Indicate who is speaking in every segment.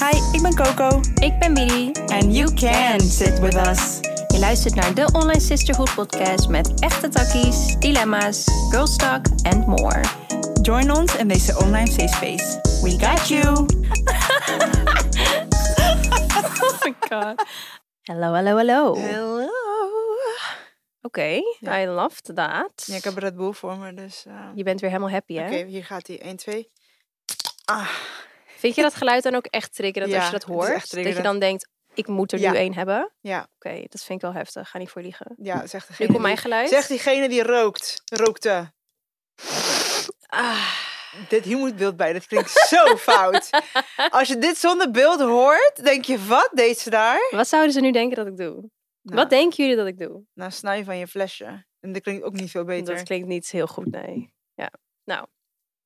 Speaker 1: Hi, ik ben Coco.
Speaker 2: Ik ben Miri.
Speaker 1: And you can sit with us.
Speaker 2: Je luistert naar de Online Sisterhood podcast met echte takkies, dilemma's, girl talk and more.
Speaker 1: Oh Join ons in deze online safe space. We got you!
Speaker 2: Oh my god. Hallo, hallo, hallo. Oké,
Speaker 1: Hello! Ja.
Speaker 2: I loved that.
Speaker 1: Ja, ik heb Red Bull voor me, dus... eh,
Speaker 2: Je bent weer helemaal happy, hè?
Speaker 1: Oké, hier gaat hij. 1, 2. Ah,
Speaker 2: Vind je dat geluid dan ook echt triggerend
Speaker 1: Ja,
Speaker 2: als je dat
Speaker 1: het is
Speaker 2: hoort?
Speaker 1: echt
Speaker 2: dat je
Speaker 1: triggerend.
Speaker 2: dan denkt, ik moet er
Speaker 1: Ja.
Speaker 2: nu één hebben? Oké,
Speaker 1: ja.
Speaker 2: dat vind ik wel heftig. Ga niet voor liegen.
Speaker 1: Ja, zegt
Speaker 2: Nu
Speaker 1: degene,
Speaker 2: komt mijn
Speaker 1: die,
Speaker 2: geluid.
Speaker 1: zegt diegene die rookt. Rookte.
Speaker 2: Ah,
Speaker 1: Dit, hier moet beeld bij. Dat klinkt zo fout. Als je dit zonder beeld hoort, denk je, wat deed ze daar?
Speaker 2: wat zouden ze nu denken dat ik doe?
Speaker 1: Nou,
Speaker 2: Wat denken jullie dat ik doe?
Speaker 1: Nou, snij je van je flesje. En dat klinkt ook niet veel beter.
Speaker 2: Dat klinkt niet heel goed, nee. Ja. Nou,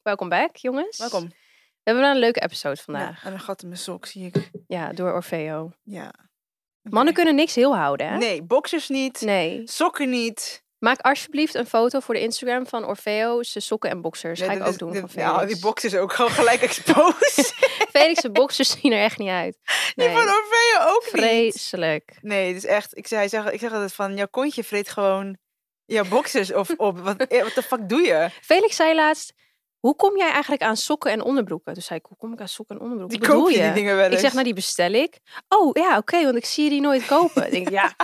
Speaker 2: welkom Nou. back, jongens.
Speaker 1: Welkom.
Speaker 2: We hebben wel een leuke episode
Speaker 1: Ja,
Speaker 2: vandaag.
Speaker 1: en een gat in mijn sok, zie ik.
Speaker 2: Ja, door Orfeo.
Speaker 1: Ja. Oké.
Speaker 2: Mannen kunnen niks heel houden, hè?
Speaker 1: Nee, boxers niet.
Speaker 2: Nee.
Speaker 1: Sokken niet.
Speaker 2: Maak alsjeblieft een foto voor de Instagram van Orfeo, zijn sokken en boxers.
Speaker 1: Nee,
Speaker 2: Ga ik
Speaker 1: dat
Speaker 2: ook
Speaker 1: is-
Speaker 2: doen
Speaker 1: dit-
Speaker 2: van Felix.
Speaker 1: Ja, die boxers ook gewoon gelijk exposed.
Speaker 2: Felix, zijn boxers zien er echt niet uit.
Speaker 1: Die
Speaker 2: Nee,
Speaker 1: van Orfeo ook niet.
Speaker 2: vreselijk.
Speaker 1: Nee, het is echt... Ik, zei, hij zegt, ik zeg altijd van, jouw kontje vreet gewoon jouw boxers of op. Wat de fuck doe je?
Speaker 2: Felix zei laatst, hoe kom jij eigenlijk aan sokken en onderbroeken? Toen zei ik, hoe kom ik aan sokken en onderbroeken?
Speaker 1: Die
Speaker 2: Wat
Speaker 1: koop je
Speaker 2: bedoel
Speaker 1: die dingen wel eens.
Speaker 2: Ik zeg, nou die bestel ik. Oh ja, oké, want ik zie die nooit kopen. Ik denk, ja,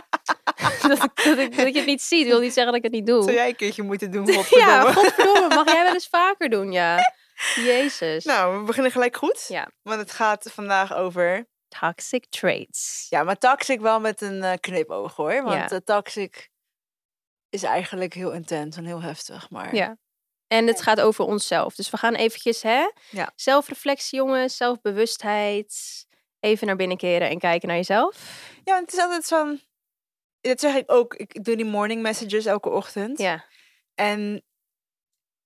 Speaker 2: dat, ik, dat, ik, dat je het niet ziet wil niet zeggen dat ik het niet doe.
Speaker 1: Zou jij een keertje moeten doen,
Speaker 2: ja,
Speaker 1: godverdomme.
Speaker 2: godverdomme, mag jij wel eens vaker doen, ja. Jezus.
Speaker 1: Nou, we beginnen gelijk goed.
Speaker 2: Ja.
Speaker 1: Want het gaat vandaag over...
Speaker 2: Toxic traits.
Speaker 1: Ja, maar toxic wel met een eh, knipoog, hoor.
Speaker 2: Ja.
Speaker 1: Want eh, toxic is eigenlijk heel intens en heel heftig. Maar
Speaker 2: Ja. En het gaat over onszelf. Dus we gaan eventjes, hè?
Speaker 1: Ja.
Speaker 2: Zelfreflectie, jongens. Zelfbewustheid. Even naar binnen keren en kijken naar jezelf.
Speaker 1: Ja, want het is altijd zo'n... Dat zeg ik ook. Ik doe die morning messages elke ochtend.
Speaker 2: Ja.
Speaker 1: En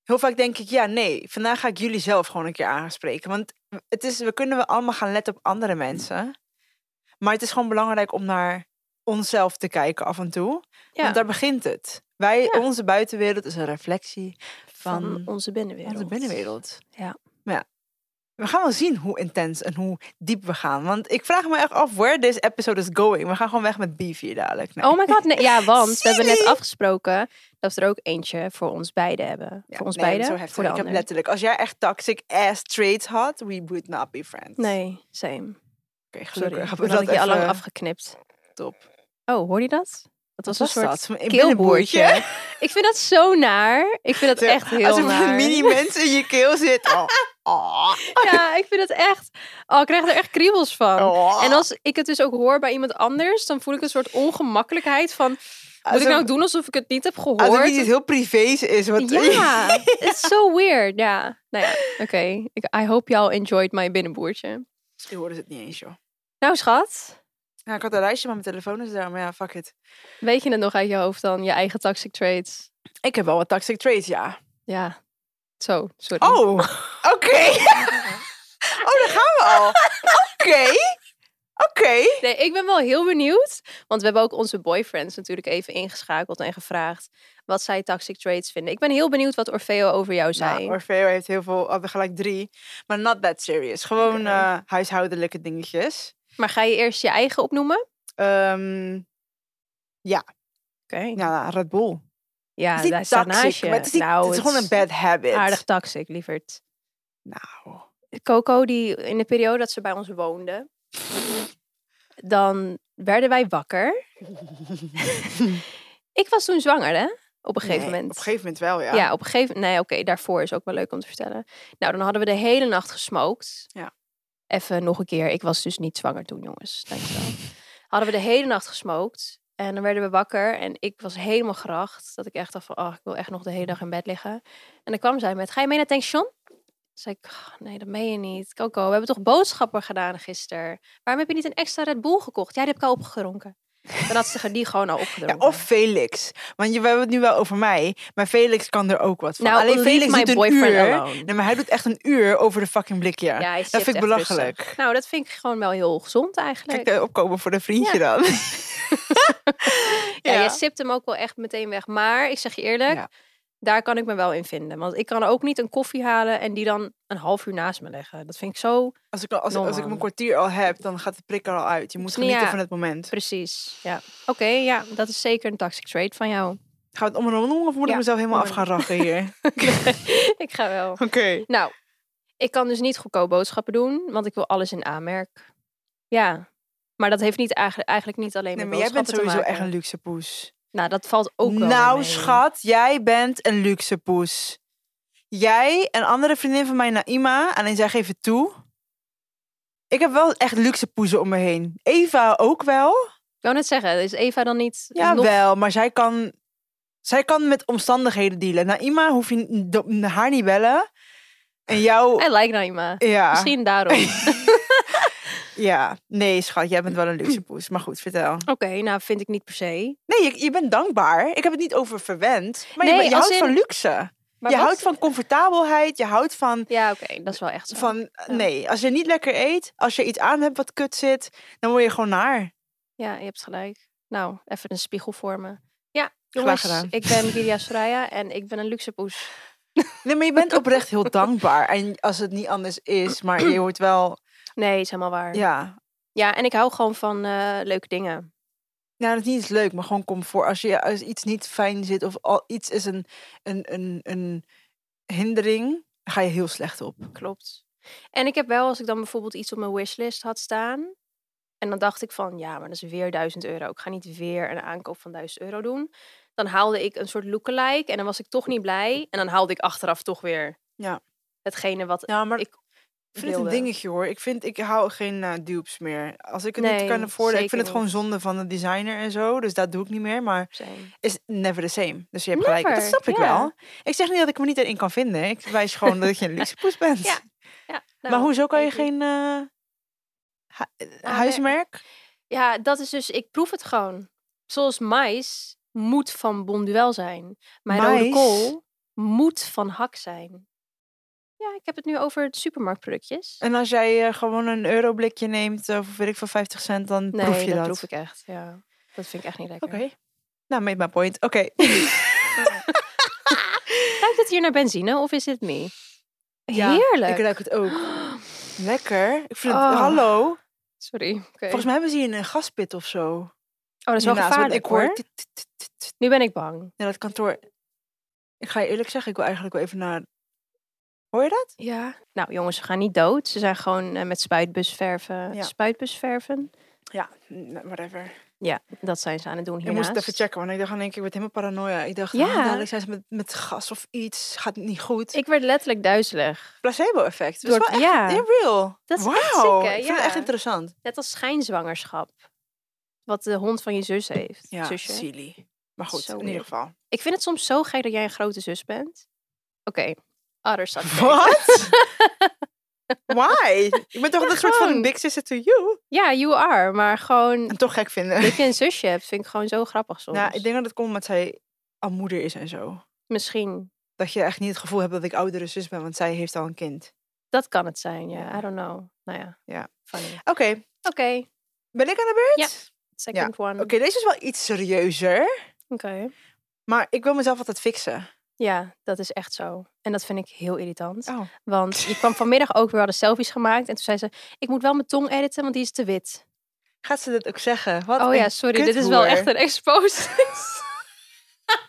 Speaker 1: heel vaak denk ik, ja, nee, vandaag ga ik jullie zelf gewoon een keer aanspreken. Want het is, we kunnen wel allemaal gaan letten op andere mensen. Maar het is gewoon belangrijk om naar onszelf te kijken af en toe.
Speaker 2: ja.
Speaker 1: Want daar begint het. Wij,
Speaker 2: Ja.
Speaker 1: onze buitenwereld is een reflectie
Speaker 2: van,
Speaker 1: van
Speaker 2: onze binnenwereld.
Speaker 1: onze binnenwereld.
Speaker 2: Ja.
Speaker 1: Maar ja, we gaan wel zien hoe intens en hoe diep we gaan. Want ik vraag me echt af where this episode is going. We gaan gewoon weg met beef hier dadelijk. Nee.
Speaker 2: Oh my god, nee. Ja, want we hebben net
Speaker 1: Silly.
Speaker 2: afgesproken dat we er ook eentje voor ons beiden hebben.
Speaker 1: Ja,
Speaker 2: voor ons
Speaker 1: nee,
Speaker 2: beiden?
Speaker 1: Zo heftig.
Speaker 2: Voor de
Speaker 1: ik heb
Speaker 2: ander.
Speaker 1: letterlijk, als jij echt toxic ass traits had, we would not be friends.
Speaker 2: Nee, same.
Speaker 1: Oké,
Speaker 2: Sorry.
Speaker 1: gelukkig.
Speaker 2: Dan had ik je
Speaker 1: even
Speaker 2: allang afgeknipt.
Speaker 1: top.
Speaker 2: Oh, hoor je dat? Dat was
Speaker 1: Wat
Speaker 2: een
Speaker 1: was
Speaker 2: soort
Speaker 1: dat? Een
Speaker 2: keelboertje.
Speaker 1: binnenboertje?
Speaker 2: ik vind dat zo naar. Ik vind dat
Speaker 1: Zo,
Speaker 2: echt heel
Speaker 1: Als er
Speaker 2: naar.
Speaker 1: een mini mens in je keel zit. Oh, oh,
Speaker 2: Ja, ik vind het echt. Oh, ik krijg er echt kriebels van.
Speaker 1: oh.
Speaker 2: En als ik het dus ook hoor bij iemand anders, dan voel ik een soort ongemakkelijkheid van... Moet
Speaker 1: Alsof-
Speaker 2: ik nou doen alsof ik het niet heb gehoord?
Speaker 1: Alsof iets heel privés is. Wat
Speaker 2: Ja, het is zo weird, ja. Nou ja, oké. Ik- I hope y'all enjoyed my binnenboertje.
Speaker 1: Misschien hoorden ze het niet eens, joh.
Speaker 2: Nou schat,
Speaker 1: Ja, ik had een lijstje, maar mijn telefoon is daar. Maar ja, fuck it.
Speaker 2: weet je het nog uit je hoofd dan? Je eigen toxic traits?
Speaker 1: Ik heb wel wat toxic traits, ja.
Speaker 2: Ja, zo, sorry.
Speaker 1: Oh, oké. oh, daar gaan we al. Oké. Oké.
Speaker 2: Nee, ik ben wel heel benieuwd. Want we hebben ook onze boyfriends natuurlijk even ingeschakeld en gevraagd wat zij toxic traits vinden. Ik ben heel benieuwd wat Orfeo over jou zei.
Speaker 1: Nou, Orfeo heeft heel veel, had er gelijk drie. Maar not that serious. Gewoon
Speaker 2: Oké.
Speaker 1: eh, huishoudelijke dingetjes.
Speaker 2: Maar ga je eerst je eigen opnoemen?
Speaker 1: Ehm
Speaker 2: Oké.
Speaker 1: ja, Red Bull.
Speaker 2: Ja,
Speaker 1: is niet
Speaker 2: daar staat
Speaker 1: toxic,
Speaker 2: naast je.
Speaker 1: maar Het is, niet-
Speaker 2: nou,
Speaker 1: het is gewoon een
Speaker 2: bed.
Speaker 1: bad habit.
Speaker 2: Aardig toxic, lieverd.
Speaker 1: Nou,
Speaker 2: Coco, die in de periode dat ze bij ons woonde, dan werden wij wakker. ik was toen zwanger, hè? Op een gegeven
Speaker 1: nee,
Speaker 2: moment.
Speaker 1: Op een gegeven moment wel, ja.
Speaker 2: ja. op een gegeven Nee, oké, daarvoor is ook wel leuk om te vertellen. Nou, dan hadden we de hele nacht gesmookt.
Speaker 1: Ja.
Speaker 2: Even nog een keer. Ik was dus niet zwanger toen, jongens. Dankjewel. hadden we de hele nacht gesmookt. En dan werden we wakker en ik was helemaal geracht. Dat ik echt dacht van, oh, ik wil echt nog de hele dag in bed liggen. En dan kwam zij met, ga je mee naar het tankstation? zei ik, "Oh, nee, dat meen je niet. Coco, we hebben toch boodschappen gedaan gisteren? Waarom heb je niet een extra Red Bull gekocht? Ja, die heb ik al opgedronken. Dan had ze er die gewoon al
Speaker 1: Ja,
Speaker 2: opgedronken.
Speaker 1: of Felix. Want je, we hebben het nu wel over mij. Maar Felix kan er ook wat van.
Speaker 2: Nou,
Speaker 1: Alleen
Speaker 2: leave
Speaker 1: Felix
Speaker 2: my
Speaker 1: doet een
Speaker 2: boyfriend
Speaker 1: uur.
Speaker 2: alone.
Speaker 1: Nee, maar hij doet echt een uur over de fucking blikje.
Speaker 2: Ja, hij
Speaker 1: dat
Speaker 2: shift
Speaker 1: vind ik
Speaker 2: echt rustig.
Speaker 1: belachelijk.
Speaker 2: Nou, dat vind ik gewoon wel heel gezond eigenlijk.
Speaker 1: Kijk, eh, opkomen voor een vriendje dan.
Speaker 2: ja, jij sipt hem ook wel echt meteen weg. Maar ik zeg je eerlijk,
Speaker 1: Ja.
Speaker 2: daar kan ik me wel in vinden. Want ik kan ook niet een koffie halen en die dan een half uur naast me leggen. Dat vind ik zo
Speaker 1: Als ik, al- als, ik- als ik
Speaker 2: Normaal.
Speaker 1: mijn kwartier al heb, dan gaat de prik er al uit. Je moet
Speaker 2: Snap je?
Speaker 1: genieten
Speaker 2: Ja.
Speaker 1: van het moment.
Speaker 2: precies. Ja. Oké, ja, dat is zeker een toxic trait van jou.
Speaker 1: Gaat het om en om doen, of moet ik
Speaker 2: Ja,
Speaker 1: mezelf
Speaker 2: om
Speaker 1: helemaal af
Speaker 2: en
Speaker 1: gaan rachen hier?
Speaker 2: ik ga wel.
Speaker 1: Oké.
Speaker 2: Nou, ik kan dus niet goedkoop boodschappen doen, want ik wil alles in aanmerk. Ja. Maar dat heeft niet eigenlijk, eigenlijk niet alleen
Speaker 1: Nee,
Speaker 2: met
Speaker 1: maar jij bent
Speaker 2: boodschappen
Speaker 1: sowieso
Speaker 2: te maken.
Speaker 1: echt een luxe poes.
Speaker 2: Nou, dat valt ook wel
Speaker 1: nou,
Speaker 2: mee.
Speaker 1: schat, jij bent een luxe poes. Jij, een andere vriendin van mij, Naima, alleen zij geeft het toe. Ik heb wel echt luxe poezen om me heen. Eva ook wel.
Speaker 2: Ik wou net zeggen, is Eva dan niet
Speaker 1: Ja,
Speaker 2: nog
Speaker 1: wel, maar zij kan, zij kan met omstandigheden dealen. Naima hoef je n- do- haar niet bellen. En jou,
Speaker 2: I like Naima.
Speaker 1: ja,
Speaker 2: nou Eh, Misschien daarom. Oké,
Speaker 1: ja. Nee, schat, jij bent wel een luxe poes. Maar goed, vertel.
Speaker 2: nou vind ik niet per se.
Speaker 1: Nee, je, je bent dankbaar. Ik heb het niet over verwend. Maar je
Speaker 2: Nee,
Speaker 1: bent- je,
Speaker 2: als
Speaker 1: houdt van
Speaker 2: in-
Speaker 1: luxe.
Speaker 2: Maar
Speaker 1: je
Speaker 2: wat-
Speaker 1: houdt van comfortabelheid. Je houdt van
Speaker 2: Ja, oké, dat is wel echt zo.
Speaker 1: van eh, nee, als je niet lekker eet, als je iets aan hebt wat kut zit, dan word je gewoon naar.
Speaker 2: Ja, je hebt gelijk. Nou, even een spiegel voor me. Ja,
Speaker 1: Graag
Speaker 2: jongens,
Speaker 1: gedaan.
Speaker 2: ik ben Gilia Soraya en ik ben een luxe poes.
Speaker 1: Nee, maar je bent oprecht heel dankbaar. En als het niet anders is, maar je hoort wel,
Speaker 2: Nee, is helemaal waar. Ja,
Speaker 1: ja.
Speaker 2: en ik hou gewoon van eh, leuke dingen.
Speaker 1: Nou, dat is niet eens leuk, maar gewoon comfort. Als je als iets niet fijn zit of al iets is een, een, een, een hindering, dan ga je heel slecht op.
Speaker 2: Klopt. En ik heb wel, als ik dan bijvoorbeeld iets op mijn wishlist had staan... en dan dacht ik van, ja, maar dat is weer 1000 euro. Ik ga niet weer een aankoop van 1000 euro doen. Dan haalde ik een soort lookalike en dan was ik toch niet blij. En dan haalde ik achteraf toch weer
Speaker 1: Ja.
Speaker 2: hetgene wat
Speaker 1: Ja, maar
Speaker 2: ik
Speaker 1: Ik vind het een
Speaker 2: wilde.
Speaker 1: dingetje hoor. Ik vind, ik hou geen eh, dupes meer. Als ik het niet
Speaker 2: Nee,
Speaker 1: kan ervoor, ik
Speaker 2: zeker
Speaker 1: vind het gewoon zonde van de designer en zo. Dus dat doe ik niet meer. Maar
Speaker 2: zijn.
Speaker 1: is never the same. Dus je hebt gelijk. Dat
Speaker 2: Never,
Speaker 1: snap ik
Speaker 2: ja.
Speaker 1: wel. Ik zeg niet dat ik me niet erin kan vinden. Ik wijs gewoon dat je een luxe poes bent.
Speaker 2: Ja, Ja,
Speaker 1: maar
Speaker 2: nou,
Speaker 1: hoezo kan je
Speaker 2: weet ik. Nou,
Speaker 1: geen eh, hu-
Speaker 2: nee.
Speaker 1: huismerk?
Speaker 2: Ja, dat is dus, ik proef het gewoon. Zoals mais moet van bonduel zijn. Mijn rode
Speaker 1: Mais?
Speaker 2: kool moet van hak zijn. Ja, ik heb het nu over supermarktproductjes.
Speaker 1: En als jij eh, gewoon een euroblikje neemt, eh, of weet ik veel, 50 cent, dan
Speaker 2: Nee,
Speaker 1: proef je
Speaker 2: dat
Speaker 1: dat.
Speaker 2: proef ik echt. Ja, dat vind ik echt niet lekker.
Speaker 1: Oké. Nou, made my point. Oké.
Speaker 2: Ruikt het hier naar benzine of is dit me?
Speaker 1: Ja,
Speaker 2: Heerlijk.
Speaker 1: Ik ruik het ook. Lekker. Ik vind het,
Speaker 2: Oh.
Speaker 1: hallo.
Speaker 2: Sorry. oké.
Speaker 1: Volgens mij hebben ze hier een eh, gaspit of zo.
Speaker 2: oh, dat is wel
Speaker 1: Hiernaast, want
Speaker 2: gevaarlijk
Speaker 1: Ik hoor
Speaker 2: hoor.
Speaker 1: tit, tit, tit, tit, tit.
Speaker 2: Nu ben ik bang.
Speaker 1: Ja, dat kantoor. Ik ga je eerlijk zeggen, ik wil eigenlijk wel even naar. Hoor je dat?
Speaker 2: Ja. Nou jongens, ze gaan niet dood. Ze zijn gewoon eh, met spuitbusverven.
Speaker 1: Ja.
Speaker 2: Spuitbusverven.
Speaker 1: Ja, n- whatever.
Speaker 2: Ja, dat zijn ze aan het doen
Speaker 1: Ik
Speaker 2: hiernaast.
Speaker 1: moest het even checken, want ik dacht in één keer, ik werd helemaal paranoia. Ik dacht, ja.
Speaker 2: Ja.
Speaker 1: dadelijk zijn ze met, met gas of iets, gaat het niet goed.
Speaker 2: Ik werd letterlijk duizelig.
Speaker 1: Placebo-effect. Dat is
Speaker 2: Door-
Speaker 1: wel echt
Speaker 2: ja.
Speaker 1: heel real.
Speaker 2: Dat is
Speaker 1: Wauw,
Speaker 2: echt ziek, hè?
Speaker 1: ik vind
Speaker 2: Ja.
Speaker 1: het echt interessant.
Speaker 2: Net als schijnzwangerschap. Wat de hond van je zus heeft.
Speaker 1: Ja,
Speaker 2: zusje.
Speaker 1: silly. Maar goed,
Speaker 2: Zo
Speaker 1: in
Speaker 2: weird.
Speaker 1: ieder geval.
Speaker 2: Ik vind het soms zo gek dat jij een grote zus bent. Oké, other subject.
Speaker 1: What? Why? Ik ben toch
Speaker 2: Ja,
Speaker 1: een soort van
Speaker 2: gewoon.
Speaker 1: big sister to you.
Speaker 2: Ja, you are. Maar gewoon
Speaker 1: En toch gek vinden.
Speaker 2: dat je een zusje hebt, vind ik gewoon zo grappig soms.
Speaker 1: Nou, ik denk dat het komt omdat zij al moeder is en zo.
Speaker 2: Misschien.
Speaker 1: Dat je echt niet het gevoel hebt dat ik oudere zus ben, want zij heeft al een kind.
Speaker 2: Dat kan het zijn, ja.
Speaker 1: Ja.
Speaker 2: I don't know. Nou ja.
Speaker 1: Ja.
Speaker 2: funny. Oké,
Speaker 1: Oké, ben ik aan de beurt?
Speaker 2: Ja. second one.
Speaker 1: Oké,
Speaker 2: Oké.
Speaker 1: deze is wel iets serieuzer, maar ik wil mezelf altijd fixen.
Speaker 2: Ja, dat is echt zo. En dat vind ik heel irritant.
Speaker 1: Oh.
Speaker 2: Want je kwam vanmiddag ook, we hadden selfies gemaakt. En toen zei ze, ik moet wel mijn tong editen, want die is te wit.
Speaker 1: Gaat ze dat ook zeggen? Wat
Speaker 2: oh ja,
Speaker 1: een
Speaker 2: sorry. Dit is wel
Speaker 1: kuthoer.
Speaker 2: echt een expose.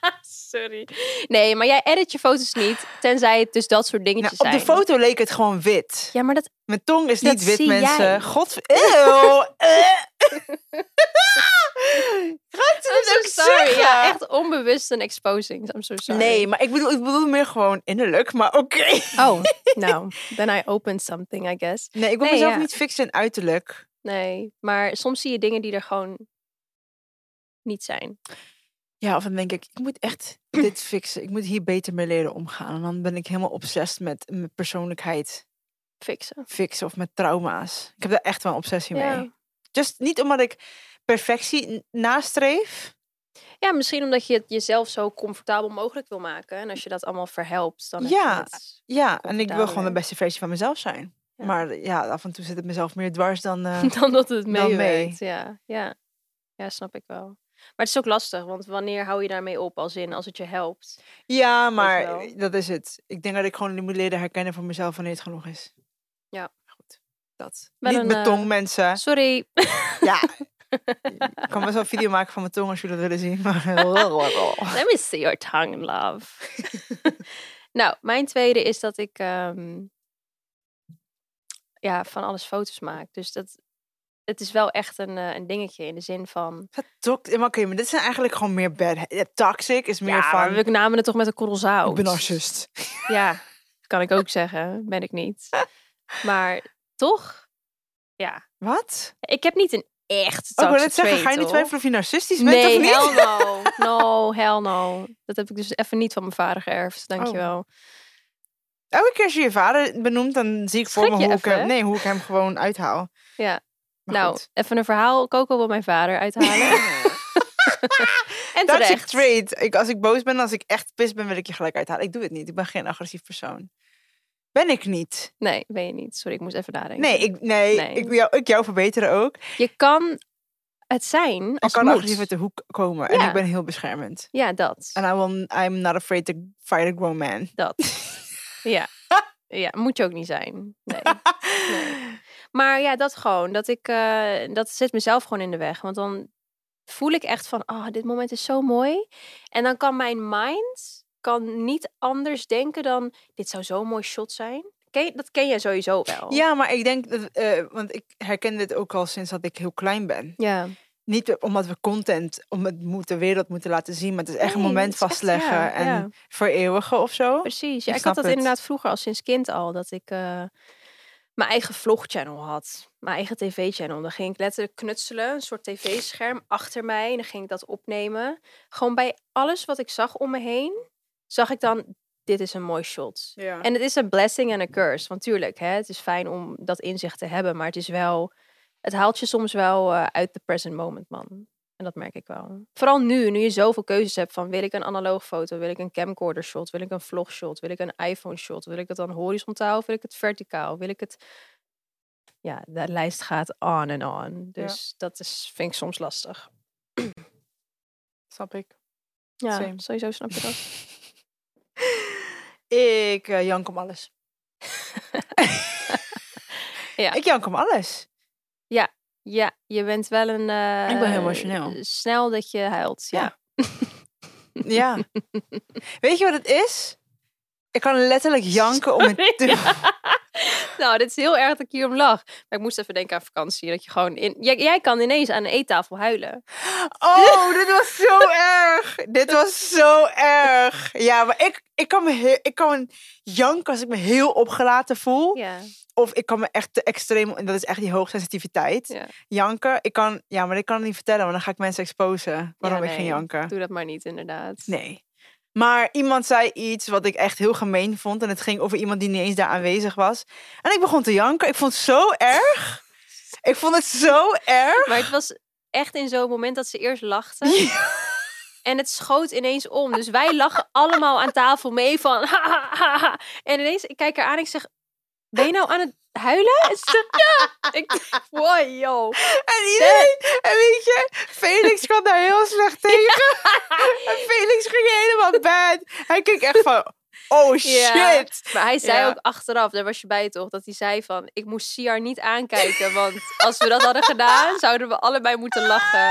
Speaker 2: sorry. Nee, maar jij edit je foto's niet, tenzij het dus dat soort
Speaker 1: Nou,
Speaker 2: dingetjes
Speaker 1: op de
Speaker 2: zijn.
Speaker 1: foto leek het gewoon wit.
Speaker 2: Ja, maar dat...
Speaker 1: Mijn tong is
Speaker 2: Dat
Speaker 1: niet wit,
Speaker 2: zie
Speaker 1: mensen.
Speaker 2: jij.
Speaker 1: God... Eeuw! Eh. Gaat ze dit
Speaker 2: I'm
Speaker 1: ook
Speaker 2: so sorry.
Speaker 1: zeggen?
Speaker 2: Ja, echt onbewust een exposing. I'm so sorry.
Speaker 1: Nee, maar ik bedoel, ik bedoel meer gewoon innerlijk, maar oké.
Speaker 2: Oh, nou. Then I opened something, I guess.
Speaker 1: Nee, ik wil
Speaker 2: Nee,
Speaker 1: mezelf
Speaker 2: ja.
Speaker 1: niet fixen in uiterlijk.
Speaker 2: Nee, maar soms zie je dingen die er gewoon niet zijn.
Speaker 1: Ja, of dan denk ik, ik moet echt dit fixen. Ik moet hier beter mee leren omgaan. En dan ben ik helemaal obsessief met mijn persoonlijkheid
Speaker 2: Fixen.
Speaker 1: fixen of met trauma's. Ik heb daar echt wel een obsessie mee.
Speaker 2: Ja.
Speaker 1: Just niet omdat ik perfectie n- nastreef.
Speaker 2: ja, misschien omdat je het jezelf zo comfortabel mogelijk wil maken. En als je dat allemaal verhelpt, dan heb
Speaker 1: Ja.
Speaker 2: je het...
Speaker 1: Ja, en ik wil gewoon de
Speaker 2: Comfortabeler.
Speaker 1: beste versie van mezelf zijn.
Speaker 2: Ja.
Speaker 1: Maar ja, af en toe zit het mezelf meer dwars dan... eh,
Speaker 2: dan dat het
Speaker 1: mee.
Speaker 2: meewerkt. Ja, ja. ja, snap ik wel. Maar het is ook lastig, want wanneer hou je daarmee op? Als in, als het je helpt.
Speaker 1: ja, maar
Speaker 2: wel.
Speaker 1: dat is het. Ik denk dat ik gewoon moet leren herkennen voor mezelf wanneer het genoeg is.
Speaker 2: Ja.
Speaker 1: Goed. Dat.
Speaker 2: Wel
Speaker 1: niet
Speaker 2: een,
Speaker 1: mijn tong,
Speaker 2: eh,
Speaker 1: mensen.
Speaker 2: Sorry.
Speaker 1: Ja. ik kan best wel een video maken van mijn tong als jullie dat willen zien. Maar...
Speaker 2: Let me see your tongue, love. nou, mijn tweede is dat ik ehm, ja, van alles foto's maak. Dus dat, het is wel echt een, eh, een dingetje in de zin van...
Speaker 1: Dokt- maar Oké, maar dit zijn eigenlijk gewoon meer bad. ja, Toxic is meer
Speaker 2: ja, maar
Speaker 1: van...
Speaker 2: we namen het toch met een korrel zout.
Speaker 1: Ik ben narcist.
Speaker 2: Ja, kan ik ook zeggen. Ben ik niet. Maar toch, ja.
Speaker 1: Wat?
Speaker 2: Ik heb niet een echt
Speaker 1: Oh, ik wil
Speaker 2: toxic
Speaker 1: net zeggen,
Speaker 2: trait,
Speaker 1: ga je nu
Speaker 2: hoor.
Speaker 1: twijfelen of je narcistisch bent
Speaker 2: Nee,
Speaker 1: of niet?
Speaker 2: hell no. No, hell no. Dat heb ik dus even niet van mijn vader
Speaker 1: Oh.
Speaker 2: geërfd. Dankjewel.
Speaker 1: Elke keer als je je vader benoemt, dan zie ik voor
Speaker 2: Schrik
Speaker 1: me
Speaker 2: je
Speaker 1: hoe ik,
Speaker 2: even,
Speaker 1: hem,
Speaker 2: hè?
Speaker 1: nee, hoe ik hem gewoon uithaal.
Speaker 2: Ja.
Speaker 1: Maar
Speaker 2: nou,
Speaker 1: goed.
Speaker 2: even een verhaal. Coco wil mijn vader uithalen. en
Speaker 1: Toxic
Speaker 2: terecht.
Speaker 1: trait. Ik, als ik boos ben, als ik echt pis ben, wil ik je gelijk uithalen. Ik doe het niet. Ik ben geen agressief persoon. Ben ik niet.
Speaker 2: Nee, ben je niet. Sorry, ik moest even nadenken.
Speaker 1: Nee, ik, nee,
Speaker 2: Nee.
Speaker 1: Ik, jou, ik jou verbeteren ook.
Speaker 2: Je kan het zijn
Speaker 1: Ik
Speaker 2: als
Speaker 1: kan
Speaker 2: moed.
Speaker 1: agressief uit de hoek komen. En
Speaker 2: Ja.
Speaker 1: ik ben heel beschermend.
Speaker 2: Ja, dat.
Speaker 1: En I will, I'm not afraid to fight a grown man.
Speaker 2: Dat. ja. Ja, moet je ook niet zijn. Nee. Nee. Maar ja, dat gewoon. Dat, ik, eh, dat zit mezelf gewoon in de weg. Want dan voel ik echt van, ah, dit moment is zo mooi. En dan kan mijn mind kan niet anders denken dan, dit zou zo'n mooi shot zijn. Ken je- dat ken jij sowieso wel.
Speaker 1: Ja, maar ik denk, dat, eh, want ik herken dit ook al sinds dat ik heel klein ben.
Speaker 2: ja.
Speaker 1: niet omdat we content om het moet, de wereld moeten laten zien, maar het is echt een
Speaker 2: Nee,
Speaker 1: moment
Speaker 2: het is echt- ja,
Speaker 1: vastleggen en
Speaker 2: ja.
Speaker 1: vereeuwigen of zo.
Speaker 2: Precies.
Speaker 1: Ik
Speaker 2: Ja, ik
Speaker 1: snap
Speaker 2: had dat
Speaker 1: het.
Speaker 2: inderdaad vroeger al sinds kind al. Dat ik eh, mijn eigen vlogchannel had. Mijn eigen tv-channel. Dan ging ik letterlijk knutselen. Een soort tv-scherm achter mij. En dan ging ik dat opnemen. Gewoon bij alles wat ik zag om me heen. Zag ik dan, dit is een mooi shot.
Speaker 1: Ja.
Speaker 2: En het is een blessing en een curse. Want tuurlijk, hè, het is fijn om dat inzicht te hebben. Maar het is wel... Het haalt je soms wel eh, uit de present moment, man. En dat merk ik wel. Vooral nu, nu je zoveel keuzes hebt van... wil ik een analoog foto, wil ik een camcorder shot... wil ik een vlog shot, wil ik een iPhone shot... wil ik het dan horizontaal of wil ik het verticaal? Wil ik het... Ja, de lijst gaat on en on.
Speaker 1: Ja.
Speaker 2: Dus dat is, vind ik soms lastig.
Speaker 1: Snap ik.
Speaker 2: Ja,
Speaker 1: Same.
Speaker 2: sowieso snap je dat.
Speaker 1: Ik eh, jank om alles.
Speaker 2: Ja.
Speaker 1: Ik jank om alles.
Speaker 2: Ja, je bent wel een... eh,
Speaker 1: Ik ben heel emotioneel.
Speaker 2: Snel dat je huilt, ja.
Speaker 1: Ja. Ja. Weet je wat het is? Ik kan letterlijk janken om het te...
Speaker 2: Nou, dit is heel erg dat ik hierom lach. Maar ik moest even denken aan vakantie. Dat je gewoon in... jij, jij kan ineens aan een eettafel huilen.
Speaker 1: Oh, dit was zo erg. Dit was zo erg. Ja, maar ik, ik, kan me heel, ik kan janken als ik me heel opgelaten voel.
Speaker 2: Ja.
Speaker 1: Of ik kan me echt te extreem... En dat is echt die hoogsensitiviteit.
Speaker 2: Ja.
Speaker 1: Janken, ik kan... Ja, maar ik kan het niet vertellen, want dan ga ik mensen exposen. Waarom ik
Speaker 2: nee.
Speaker 1: ging janken.
Speaker 2: Doe dat maar niet, inderdaad.
Speaker 1: Nee. Maar iemand zei iets wat ik echt heel gemeen vond. En het ging over iemand die niet eens daar aanwezig was. En ik begon te janken. Ik vond het zo erg. Ik vond het zo erg.
Speaker 2: Maar het was echt in zo'n moment dat ze eerst lachten. En het schoot ineens om. Dus wij lachen allemaal aan tafel mee van... "Ha, ha, ha, ha." En ineens, ik kijk haar aan en ik zeg... Ben je nou aan het huilen? En ze zegt, ja. Ik dacht, wow, yo.
Speaker 1: En iedereen, en weet je, Felix kwam daar heel slecht tegen. En Felix ging helemaal bad. Hij keek echt van, oh shit.
Speaker 2: Ja, Maar hij zei
Speaker 1: Ja.
Speaker 2: ook achteraf, daar was je bij toch, dat hij zei van, ik moest Siar niet aankijken, want als we dat hadden gedaan, zouden we allebei moeten lachen.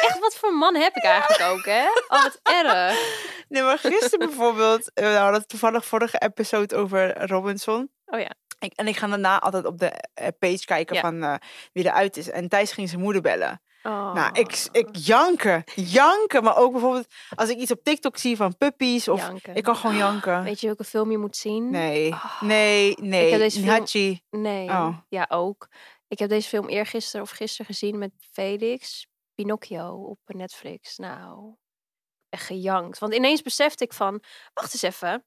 Speaker 2: Echt, wat voor man heb ik eigenlijk ook, hè? Oh, wat erg.
Speaker 1: Nee, maar gisteren bijvoorbeeld, eh, we hadden het toevallig vorige episode over Robinson.
Speaker 2: Oh ja.
Speaker 1: Ik, en ik ga daarna altijd op de eh, page kijken
Speaker 2: Ja.
Speaker 1: van eh, wie eruit is. En Thijs ging zijn moeder bellen.
Speaker 2: Oh.
Speaker 1: Nou, ik, ik janken, janken. Maar ook bijvoorbeeld als ik iets op TikTok zie van puppies. Of
Speaker 2: Janken.
Speaker 1: ik kan gewoon janken.
Speaker 2: Weet je welke film je moet zien?
Speaker 1: Nee,
Speaker 2: Oh.
Speaker 1: nee, nee.
Speaker 2: Ik heb deze film-
Speaker 1: Hachi.
Speaker 2: Nee.
Speaker 1: Oh.
Speaker 2: Ja, ook. Ik heb deze film eergisteren of gisteren gezien met Felix. Pinocchio op Netflix. Nou, echt gejankt. Want ineens besefte ik van, wacht eens even,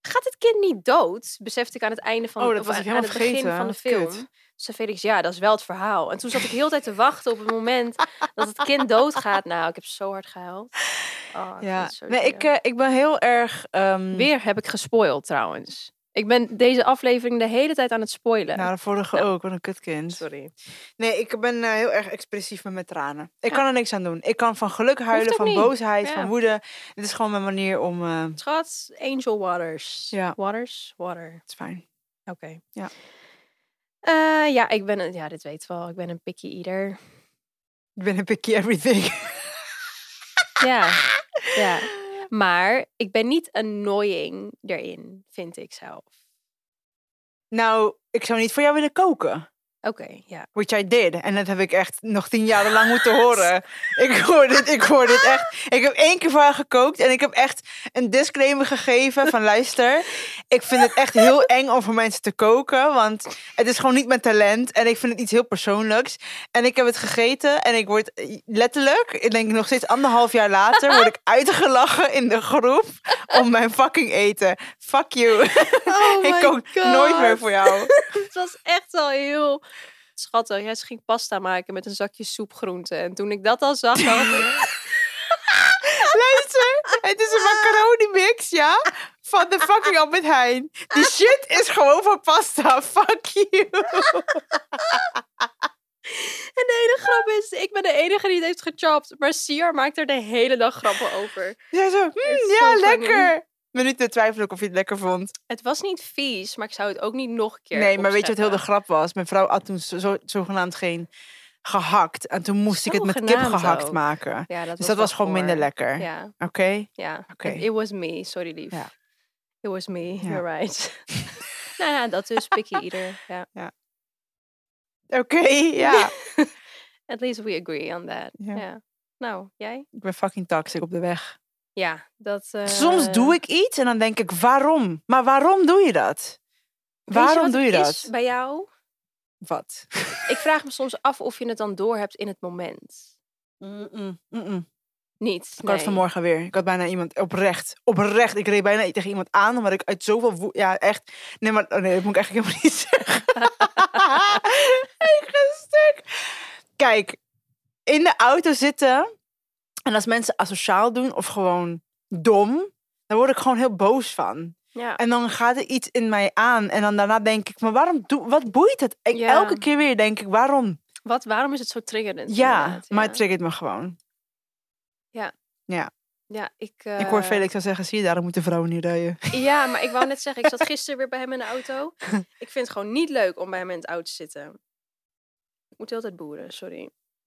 Speaker 2: gaat dit kind niet dood? Besefte ik aan het einde van
Speaker 1: Oh, dat
Speaker 2: of
Speaker 1: was
Speaker 2: aan-
Speaker 1: ik helemaal
Speaker 2: aan het begin
Speaker 1: vergeten.
Speaker 2: van de film.
Speaker 1: Kut.
Speaker 2: Toen zei Felix, ja, dat is wel het verhaal. En toen zat ik heel de tijd te wachten op het moment dat het kind doodgaat. Nou, ik heb zo hard gehuild. Oh, ik vond
Speaker 1: Ja.
Speaker 2: het zo
Speaker 1: Nee,
Speaker 2: zielig.
Speaker 1: ik, eh, ik ben heel erg... ehm,
Speaker 2: Weer heb ik gespoild trouwens. Ik ben deze aflevering de hele tijd aan het spoilen.
Speaker 1: Nou, de vorige ook, wat een kutkind.
Speaker 2: Sorry.
Speaker 1: Nee, ik ben eh, heel erg expressief met mijn tranen. Ik kan er niks aan doen. Ik kan van geluk huilen,
Speaker 2: ook
Speaker 1: van
Speaker 2: niet.
Speaker 1: boosheid,
Speaker 2: Ja.
Speaker 1: van woede. Dit is gewoon mijn manier om... eh, het
Speaker 2: Schat, Angel Waters.
Speaker 1: Ja.
Speaker 2: Waters? Water.
Speaker 1: is fijn.
Speaker 2: Oké.
Speaker 1: Ja.
Speaker 2: Eh, ja, ik ben een, ja, dit weet wel. Ik ben een picky eater.
Speaker 1: Ik ben een picky everything.
Speaker 2: Ja. ja. Maar ik ben niet annoying erin, vind ik zelf.
Speaker 1: nou, ik zou niet voor jou willen koken.
Speaker 2: Oké, ja.
Speaker 1: Which I did. En dat heb ik echt nog tien jaren lang moeten horen. Ik hoor dit, ik hoor dit echt. Ik heb één keer voor haar gekookt en ik heb echt een disclaimer gegeven van luister. Ik vind het echt heel eng om voor mensen te koken, want het is gewoon niet mijn talent. En ik vind het iets heel persoonlijks. En ik heb het gegeten en ik word eh, letterlijk, ik denk nog steeds anderhalf jaar later, word ik uitgelachen in de groep om mijn fucking eten. Fuck you.
Speaker 2: Oh
Speaker 1: ik kook nooit meer voor jou.
Speaker 2: Het was echt wel heel schattig. Ja, ze ging pasta maken met een zakje soepgroenten. En toen ik dat al zag, dacht ik,
Speaker 1: Luister, het is een macaroni mix, ja? Van de fucking Albert Heijn. Die shit is gewoon van pasta. Fuck you.
Speaker 2: En de hele grap is, ik ben de enige die het heeft gechopt. Maar Sier maakt er de hele dag grappen over.
Speaker 1: Ja, zo.
Speaker 2: is
Speaker 1: "Mm,
Speaker 2: zo
Speaker 1: ja,
Speaker 2: funny.
Speaker 1: lekker. Minuten twijfel ik of je het lekker vond.
Speaker 2: Het was niet vies, maar ik zou het ook niet nog een keer
Speaker 1: Nee, maar weet je wat heel de
Speaker 2: opscheppen.
Speaker 1: grap was? Mijn vrouw had toen zo, zo- zogenaamd geen gehakt. En toen moest ik het met kip
Speaker 2: Zogenaamd
Speaker 1: gehakt
Speaker 2: ook.
Speaker 1: maken.
Speaker 2: Ja, dat
Speaker 1: Dus
Speaker 2: was
Speaker 1: dat
Speaker 2: wel
Speaker 1: was gewoon
Speaker 2: goor.
Speaker 1: minder lekker.
Speaker 2: Ja,
Speaker 1: Oké?
Speaker 2: ja.
Speaker 1: Oké.
Speaker 2: It, it was me, sorry lief.
Speaker 1: Ja.
Speaker 2: It was me, you're right. nou ja, dat is picky eater. Ja.
Speaker 1: Oké, ja.
Speaker 2: At least we agree on that.
Speaker 1: Ja.
Speaker 2: Ja. Nou, jij?
Speaker 1: Ik ben fucking toxic op de weg.
Speaker 2: Ja, dat... eh,
Speaker 1: Soms doe ik iets en dan denk ik, waarom? Maar waarom doe je dat? Waarom doe je dat?
Speaker 2: bij jou?
Speaker 1: Wat?
Speaker 2: Ik vraag me soms af of je het dan doorhebt in het moment.
Speaker 1: Mm-mm, mm-mm.
Speaker 2: Niet.
Speaker 1: Ik had het
Speaker 2: nee.
Speaker 1: vanmorgen weer. Ik had bijna iemand oprecht. Oprecht. Ik reed bijna tegen iemand aan, omdat ik uit zoveel woe- Ja, echt. Nee, maar oh nee, dat moet ik eigenlijk helemaal niet zeggen. ik ga stuk. Kijk, in de auto zitten. En als mensen asociaal doen of gewoon dom, dan word ik gewoon heel boos van.
Speaker 2: Ja.
Speaker 1: En dan gaat er iets in mij aan. En dan daarna denk ik, maar waarom doe, wat boeit het? Ik,
Speaker 2: Ja.
Speaker 1: Elke keer weer denk ik, waarom?
Speaker 2: Wat, waarom is het zo triggerend?
Speaker 1: Ja,
Speaker 2: inderdaad?
Speaker 1: maar het triggert me gewoon.
Speaker 2: Ja, ik...
Speaker 1: Ik hoor
Speaker 2: eh,
Speaker 1: Felix al zeggen, zie je, daarom moeten vrouwen niet rijden.
Speaker 2: Ja, maar ik wou net zeggen, ik zat gisteren weer bij hem in de auto. Ik vind het gewoon niet leuk om bij hem in het auto te zitten. Ik moet de hele tijd boeren, sorry.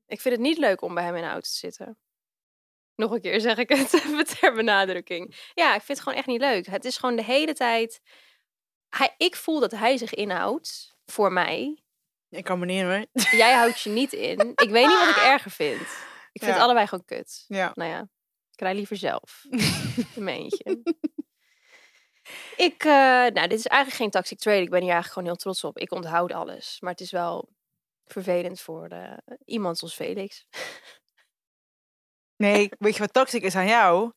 Speaker 2: Ik vind het niet leuk om bij hem in de auto te zitten. Nog een keer zeg ik het, even ter benadrukking. Ja, ik vind het gewoon echt niet leuk. Het is gewoon de hele tijd... Hij, ik voel dat hij zich inhoudt voor mij.
Speaker 1: Ik kan me niet hoor.
Speaker 2: Jij houdt je niet in. Ik weet niet wat ik erger vind. Ik vind
Speaker 1: Ja.
Speaker 2: het allebei gewoon kut.
Speaker 1: Ja.
Speaker 2: Nou ja, ik rij liever zelf. In mijn eentje. ik, eh, nou, dit is eigenlijk geen toxic trade. Ik ben hier eigenlijk gewoon heel trots op. Ik onthoud alles. Maar het is wel vervelend voor eh, iemand zoals Felix.
Speaker 1: Nee, weet je wat toxic is aan jou?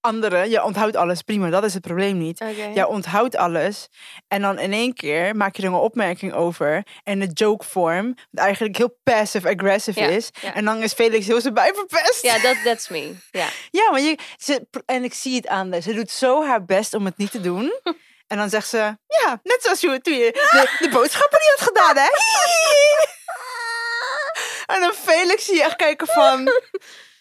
Speaker 1: Anderen, je onthoudt alles prima, dat is het probleem niet. Jij onthoudt alles en dan in één keer maak je er een opmerking over en de joke vorm, wat eigenlijk heel passive-aggressive
Speaker 2: Ja,
Speaker 1: is.
Speaker 2: ja.
Speaker 1: En dan is Felix heel zijn bij verpest.
Speaker 2: Ja, dat that's me. Ja.
Speaker 1: Ja, maar je, ze, en ik zie het aan haar. Ze doet zo haar best om het niet te doen. En dan zegt ze, ja, net zoals je, toen je de, de boodschappen niet had gedaan, hè? En dan Felix zie je echt kijken van,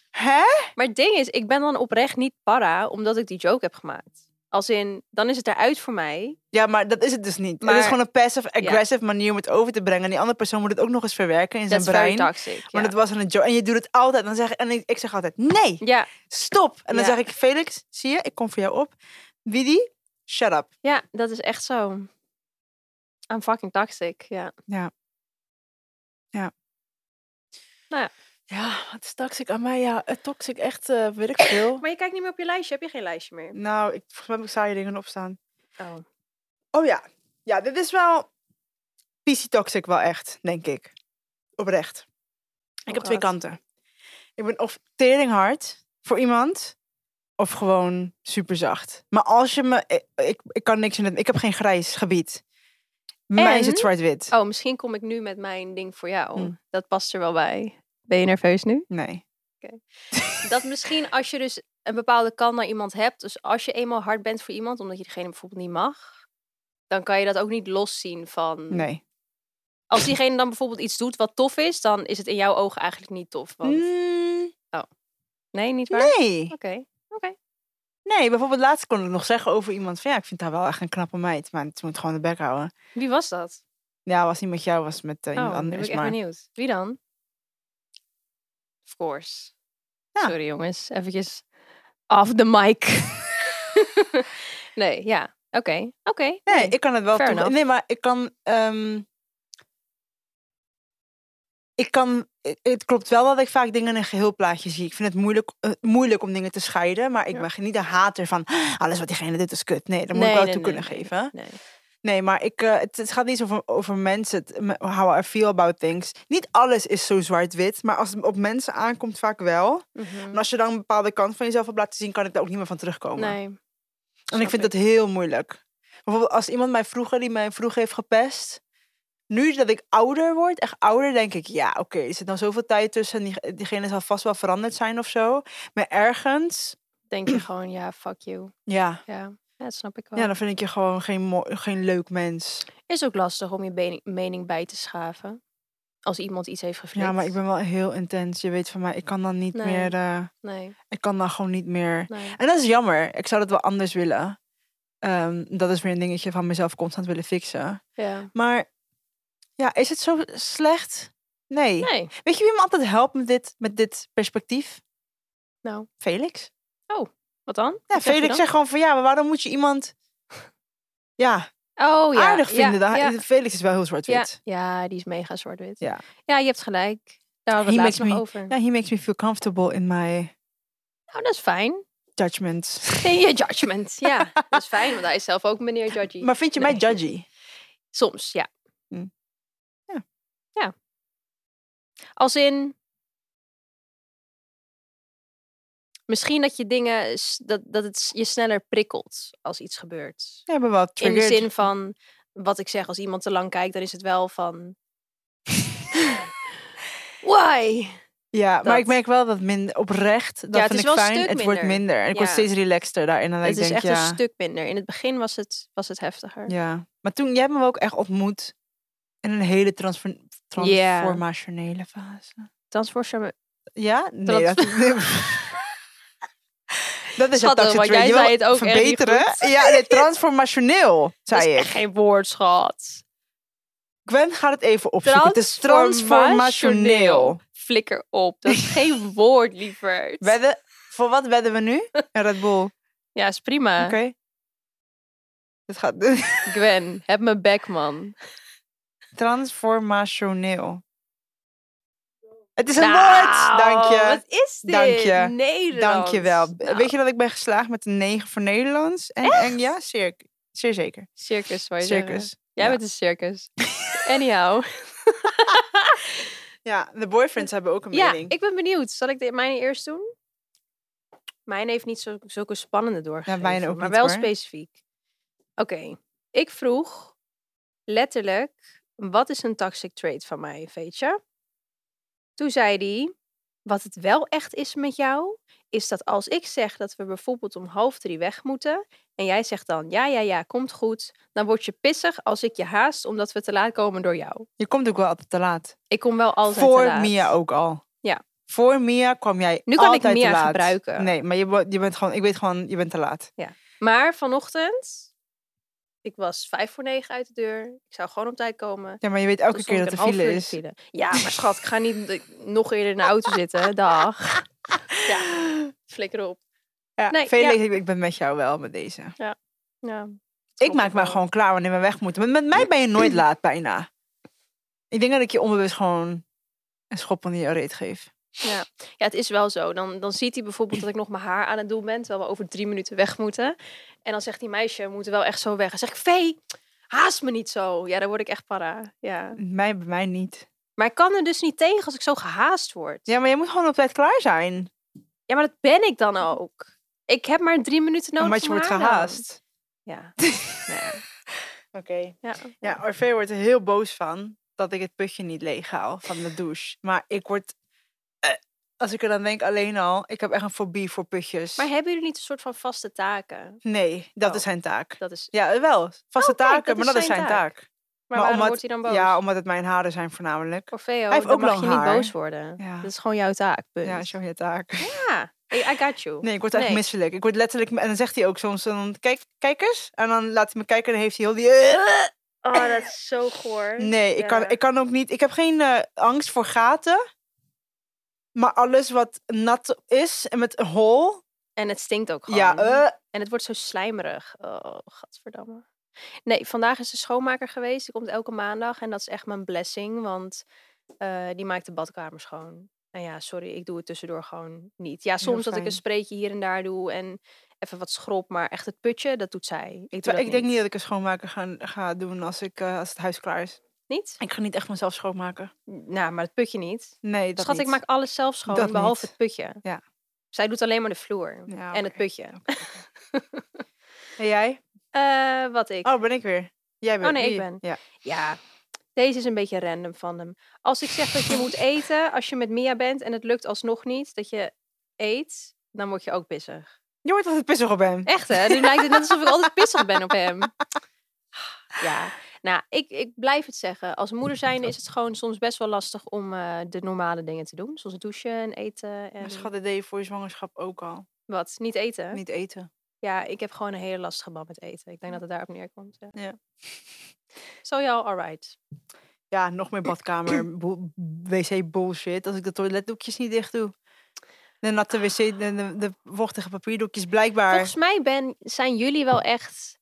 Speaker 1: hè?
Speaker 2: Maar het ding is, ik ben dan oprecht niet para omdat ik die joke heb gemaakt. Als in, dan is het eruit voor mij.
Speaker 1: Ja, maar dat is het dus niet. het
Speaker 2: Maar-
Speaker 1: is gewoon een passive-aggressive manier om het over te brengen. En die andere persoon moet het ook nog eens verwerken in zijn
Speaker 2: That's very
Speaker 1: brein.
Speaker 2: toxic.
Speaker 1: Maar
Speaker 2: ja.
Speaker 1: dat was een joke. En je doet het altijd. Dan zeg, ik- en ik, ik zeg altijd, nee,
Speaker 2: ja,
Speaker 1: stop. En dan
Speaker 2: Ja.
Speaker 1: zeg ik, Felix, zie je, ik kom voor jou op. Widi, shut up.
Speaker 2: ja, dat is echt zo. I'm fucking toxic, ja.
Speaker 1: Ja, wat is toxic aan mij? Ja, eh, toxic echt, eh weet ik veel.
Speaker 2: Maar je kijkt niet meer op je lijstje. Heb je geen lijstje meer?
Speaker 1: nou, ik, volgens mij heb ik saaie dingen opstaan.
Speaker 2: Oh.
Speaker 1: Oh ja, ja, dit is wel PC toxic wel echt, denk ik. Oprecht. Ik heb twee
Speaker 2: God.
Speaker 1: kanten. Ik ben of teringhard voor iemand. Of gewoon super zacht. Maar als je me. Ik, ik, ik kan niks in het. Ik heb geen grijs gebied. Bij Mij is het
Speaker 2: En-
Speaker 1: zwart-wit.
Speaker 2: Oh, misschien kom ik nu met mijn ding voor jou.
Speaker 1: Hm.
Speaker 2: Dat past er wel bij. Ben je nerveus nu?
Speaker 1: Nee.
Speaker 2: Dat misschien als je dus een bepaalde kant naar iemand hebt. Dus als je eenmaal hard bent voor iemand, omdat je diegene bijvoorbeeld niet mag. Dan kan je dat ook niet loszien van...
Speaker 1: Nee.
Speaker 2: Als diegene dan bijvoorbeeld iets doet wat tof is, dan is het in jouw ogen eigenlijk niet tof. Want...
Speaker 1: Mm,
Speaker 2: Nee, niet waar?
Speaker 1: nee.
Speaker 2: Oké.
Speaker 1: Nee, bijvoorbeeld laatst kon ik nog zeggen over iemand van ja, ik vind haar wel echt een knappe meid, maar het moet gewoon de bek houden.
Speaker 2: Wie was dat?
Speaker 1: Ja, was niet met jou, was met eh,
Speaker 2: oh,
Speaker 1: iemand
Speaker 2: dan ben ik
Speaker 1: anders.
Speaker 2: echt
Speaker 1: Maar
Speaker 2: benieuwd. Wie dan? Of course.
Speaker 1: Ja.
Speaker 2: Sorry jongens, eventjes off the mic. nee, ja. Oké, oké.
Speaker 1: nee, ik kan het wel.
Speaker 2: fair
Speaker 1: toe-
Speaker 2: enough.
Speaker 1: Nee, maar ik kan. ehm, ik kan. i- Het klopt wel dat ik vaak dingen in een geheel plaatje zie. Ik vind het moeilijk, eh, moeilijk om dingen te scheiden, maar ik
Speaker 2: Ja.
Speaker 1: ben niet de hater van "Ah, alles wat diegene dit is kut. Nee, dat moet
Speaker 2: Nee,
Speaker 1: ik wel
Speaker 2: nee,
Speaker 1: toe
Speaker 2: nee,
Speaker 1: kunnen
Speaker 2: nee,
Speaker 1: geven.
Speaker 2: Nee.
Speaker 1: Nee, maar ik, eh, het, het gaat niet zo over, over mensen. Het, me- how I feel about things. Niet alles is zo zwart-wit, maar als het op mensen aankomt, vaak wel.
Speaker 2: Mhm.
Speaker 1: En als je dan een bepaalde kant van jezelf hebt laten zien, kan ik daar ook niet meer van terugkomen.
Speaker 2: Nee.
Speaker 1: en ik
Speaker 2: snap
Speaker 1: vind
Speaker 2: ik.
Speaker 1: dat heel moeilijk. Bijvoorbeeld als iemand mij vroeger, die mij vroeg heeft gepest. Nu dat ik ouder word, echt ouder, denk ik, ja, oké, er zit nou zoveel tijd tussen. Die, diegene zal vast wel veranderd zijn of zo. Maar ergens,
Speaker 2: Denk je gewoon, ja, fuck you.
Speaker 1: ja,
Speaker 2: Ja, ja dat snap ik wel.
Speaker 1: ja dan vind ik je gewoon geen, mo- geen leuk mens.
Speaker 2: Is ook lastig om je mening, mening bij te schaven. Als iemand iets heeft geflikt.
Speaker 1: Ja, maar ik ben wel heel intens. Je weet van mij, ik kan dan niet
Speaker 2: Nee.
Speaker 1: meer, eh,
Speaker 2: Nee,
Speaker 1: ik kan dan gewoon niet meer.
Speaker 2: nee.
Speaker 1: En dat is jammer. Ik zou dat wel anders willen. Ehm, dat is weer een dingetje van mezelf constant willen fixen.
Speaker 2: Ja.
Speaker 1: Maar ja, is het zo slecht? Nee.
Speaker 2: Nee.
Speaker 1: Weet je wie me altijd helpt met dit, met dit perspectief?
Speaker 2: Nou.
Speaker 1: Felix.
Speaker 2: Wat dan?
Speaker 1: Ja,
Speaker 2: zeg je
Speaker 1: Felix
Speaker 2: dan?
Speaker 1: zegt gewoon van ja, maar waarom moet je iemand ja,
Speaker 2: Oh ja.
Speaker 1: aardig
Speaker 2: ja,
Speaker 1: vinden? Dan-
Speaker 2: Ja,
Speaker 1: Felix is wel heel
Speaker 2: ja,
Speaker 1: zwart-wit.
Speaker 2: ja, die is mega zwart-wit.
Speaker 1: Ja.
Speaker 2: ja, je hebt gelijk. Daar hadden we
Speaker 1: He
Speaker 2: het laatst
Speaker 1: makes
Speaker 2: nog
Speaker 1: me-
Speaker 2: over.
Speaker 1: Ja. he makes me feel comfortable in my
Speaker 2: Nou, dat is fijn.
Speaker 1: judgments.
Speaker 2: Nee, je judgment. Ja, dat is fijn, want hij is zelf ook meneer Judgy.
Speaker 1: Maar vind je mij
Speaker 2: Nee.
Speaker 1: judgy?
Speaker 2: Soms, ja.
Speaker 1: Hm. Ja.
Speaker 2: Ja. Als in. Misschien dat je dingen. s- dat, dat het s- je sneller prikkelt als iets gebeurt.
Speaker 1: We hebben wel
Speaker 2: In de
Speaker 1: triggered.
Speaker 2: zin van. wat ik zeg, als iemand te lang kijkt, dan is het wel van. Why?
Speaker 1: Ja, maar ik
Speaker 2: Dat.
Speaker 1: merk wel dat minder oprecht. Dat
Speaker 2: Ja, het is
Speaker 1: vind ik
Speaker 2: wel een
Speaker 1: fijn.
Speaker 2: stuk
Speaker 1: het wordt
Speaker 2: minder.
Speaker 1: minder. En ik word
Speaker 2: Ja.
Speaker 1: steeds relaxter daarin. En dan
Speaker 2: het
Speaker 1: ik
Speaker 2: is
Speaker 1: denk,
Speaker 2: echt
Speaker 1: ja,
Speaker 2: een stuk minder. In het begin was het, was het heftiger.
Speaker 1: ja. Maar toen, jij hebt me ook echt ontmoet in een hele transfor-
Speaker 2: Ja.
Speaker 1: transformationele fase.
Speaker 2: Transformatie.
Speaker 1: Ja? Nee,
Speaker 2: Trans-
Speaker 1: dat, dat is
Speaker 2: Schat,
Speaker 1: het
Speaker 2: want jij zei het ook erg niet
Speaker 1: verbeteren.
Speaker 2: goed.
Speaker 1: Ja, nee, transformationeel,
Speaker 2: Dat is
Speaker 1: zei ik.
Speaker 2: echt geen woord, schat.
Speaker 1: Gwen gaat het even opzoeken. Het is transformationeel.
Speaker 2: Flikker op. Dat is geen woord, lieverd.
Speaker 1: Wedden, voor wat wedden we nu? Een Red Bull.
Speaker 2: Ja, is prima.
Speaker 1: Oké. Dit gaat...
Speaker 2: Gwen, heb mijn bek, man.
Speaker 1: Transformationeel. Het is een
Speaker 2: Nou,
Speaker 1: woord! Dank je.
Speaker 2: Wat is dit?
Speaker 1: Dank je.
Speaker 2: Nederlands.
Speaker 1: Dank je wel.
Speaker 2: Nou,
Speaker 1: Weet je dat ik ben geslaagd met een 9 voor Nederlands? En, en ja, zeer, zeer zeker.
Speaker 2: Circus, wou je zeggen.
Speaker 1: Circus.
Speaker 2: Jij
Speaker 1: ja.
Speaker 2: bent een circus. Anyhow.
Speaker 1: Ja, de boyfriends hebben ook een
Speaker 2: ja,
Speaker 1: mening.
Speaker 2: ik ben benieuwd. Zal ik de, mijne eerst doen? Mijn heeft niet zo, zulke spannende doorgegeven.
Speaker 1: mijne ook
Speaker 2: maar
Speaker 1: niet,
Speaker 2: wel
Speaker 1: hoor.
Speaker 2: specifiek. Oké. Ik vroeg letterlijk, wat is een toxic trait van mij, weet je? Toen zei hij, wat het wel echt is met jou, is dat als ik zeg dat we bijvoorbeeld om half drie weg moeten, en jij zegt dan, ja, ja, ja, komt goed, dan word je pissig als ik je haast omdat we te laat komen door jou.
Speaker 1: Je komt ook wel altijd te laat.
Speaker 2: Ik kom wel altijd
Speaker 1: voor
Speaker 2: te laat.
Speaker 1: Mia ook al.
Speaker 2: Ja.
Speaker 1: Voor Mia kwam jij
Speaker 2: Nu kan ik
Speaker 1: altijd
Speaker 2: Mia
Speaker 1: te laat.
Speaker 2: gebruiken.
Speaker 1: Nee, maar je, wo- je bent gewoon, ik weet gewoon, je bent te laat.
Speaker 2: Maar vanochtend, ik was vijf voor negen uit de deur. Ik zou gewoon op tijd komen.
Speaker 1: Ja, maar je weet elke
Speaker 2: Toen
Speaker 1: keer
Speaker 2: stond
Speaker 1: dat er
Speaker 2: ik een half uur
Speaker 1: file
Speaker 2: in de
Speaker 1: is.
Speaker 2: file. Ja, maar schat, ik ga niet d- nog eerder in de auto zitten. Dag. Ja, flikker op.
Speaker 1: Ja,
Speaker 2: Nee,
Speaker 1: Felix, ik- ik ben met jou wel met deze.
Speaker 2: Ja,
Speaker 1: Ik maak me gewoon klaar wanneer we weg moeten. Met, met mij ben je nooit laat, bijna. Ik denk dat ik je onbewust gewoon een schop onder je reet geef.
Speaker 2: Ja, het is wel zo. Dan, dan ziet hij bijvoorbeeld dat ik nog mijn haar aan het doen ben, terwijl we over drie minuten weg moeten. En dan zegt die meisje, we moeten wel echt zo weg. Dan zeg ik, Vee, haast me niet zo. Ja, dan word ik echt para. Ja.
Speaker 1: Mij, bij mij niet.
Speaker 2: Maar ik kan er dus niet tegen als ik zo gehaast word.
Speaker 1: Ja, maar je moet gewoon op tijd klaar zijn.
Speaker 2: Ja, Ja, maar dat ben ik dan ook. Ik heb maar drie minuten nodig.
Speaker 1: Omdat je
Speaker 2: voor
Speaker 1: wordt
Speaker 2: mijn aandacht.
Speaker 1: gehaast.
Speaker 2: Ja.
Speaker 1: Oké.
Speaker 2: ja.
Speaker 1: Ja, Orfeo wordt er heel boos van dat ik het putje niet leeg haal van de douche. Maar ik word... eh, als ik er aan denk, alleen al... Ik heb echt een fobie voor putjes.
Speaker 2: Maar hebben jullie niet een soort van vaste taken?
Speaker 1: Nee, dat
Speaker 2: Oh.
Speaker 1: is zijn taak.
Speaker 2: Dat is.
Speaker 1: Ja, wel. Vaste
Speaker 2: Oh, kijk,
Speaker 1: taken,
Speaker 2: dat
Speaker 1: maar
Speaker 2: is
Speaker 1: dat is
Speaker 2: zijn
Speaker 1: zijn
Speaker 2: taak.
Speaker 1: taak.
Speaker 2: Maar,
Speaker 1: Maar
Speaker 2: waarom
Speaker 1: omdat-
Speaker 2: wordt hij dan boos?
Speaker 1: Ja, omdat het mijn haren zijn voornamelijk.
Speaker 2: Orfeo,
Speaker 1: heeft
Speaker 2: dan
Speaker 1: ook
Speaker 2: mag
Speaker 1: lang
Speaker 2: je
Speaker 1: haar.
Speaker 2: niet boos worden.
Speaker 1: Ja.
Speaker 2: Dat is gewoon jouw taak. Punt.
Speaker 1: Ja,
Speaker 2: Ja,
Speaker 1: dat is jouw taak.
Speaker 2: I I got you.
Speaker 1: Nee, ik word echt
Speaker 2: Nee.
Speaker 1: misselijk. Ik word letterlijk... En dan zegt hij ook soms, dan, kijk, kijk eens. En dan laat hij me kijken en dan heeft hij heel die...
Speaker 2: Oh, dat is zo goor.
Speaker 1: Nee, ik, kan,
Speaker 2: Ja.
Speaker 1: ik kan ook niet. Ik heb geen eh, angst voor gaten. Maar alles wat nat is en met een hol.
Speaker 2: En het stinkt ook gewoon.
Speaker 1: Ja, eh,
Speaker 2: En het wordt zo slijmerig. Oh, gadverdamme. Nee, vandaag is de schoonmaker geweest. Die komt elke maandag. En dat is echt mijn blessing. Want eh, die maakt de badkamer schoon. Nou ja, sorry, ik doe het tussendoor gewoon niet. Ja, soms dat ik een
Speaker 1: fijn.
Speaker 2: spreetje hier en daar doe. En even wat schrob. Maar echt het putje, dat doet zij. Ik, doe dat
Speaker 1: terwijl ik denk niet dat ik een schoonmaker ga, ga doen als, ik, eh, als het huis klaar is.
Speaker 2: Niet?
Speaker 1: Ik ga niet echt mezelf schoonmaken.
Speaker 2: Nou, maar het putje niet.
Speaker 1: Nee, dat
Speaker 2: Schat, ik
Speaker 1: niet.
Speaker 2: maak alles zelf schoon,
Speaker 1: Dat
Speaker 2: behalve
Speaker 1: niet.
Speaker 2: het putje.
Speaker 1: Ja.
Speaker 2: Zij doet alleen maar de vloer.
Speaker 1: Ja,
Speaker 2: En het
Speaker 1: oké.
Speaker 2: putje.
Speaker 1: En jij?
Speaker 2: Eh, wat ik.
Speaker 1: Oh, ben ik weer. Jij bent
Speaker 2: nee, ik
Speaker 1: wie?
Speaker 2: ben.
Speaker 1: Ja.
Speaker 2: Ja, deze is een beetje random van hem. Als ik zeg dat je moet eten als je met Mia bent en het lukt alsnog niet dat je eet, dan word je ook pissig.
Speaker 1: Je wordt altijd pissig op hem.
Speaker 2: Echt hè? Nu lijkt het net alsof ik altijd pissig ben op hem. Ja, nou, ik, ik blijf het zeggen. Als moeder zijn is het gewoon soms best wel lastig om eh, de normale dingen te doen. Zoals douchen en eten en...
Speaker 1: Maar Schat, dat deed je voor je zwangerschap ook al.
Speaker 2: Wat? Niet eten?
Speaker 1: Niet eten.
Speaker 2: Ja, ik heb gewoon een hele lastige band met eten. Ik denk dat het daarop neerkomt. Ja.
Speaker 1: Ja.
Speaker 2: Zo ja, alright.
Speaker 1: Ja, nog meer badkamer, bo- wc bullshit. Als ik de toiletdoekjes niet dicht doe. De natte wc, de, de, de vochtige papierdoekjes, blijkbaar.
Speaker 2: Volgens mij ben, zijn jullie wel echt.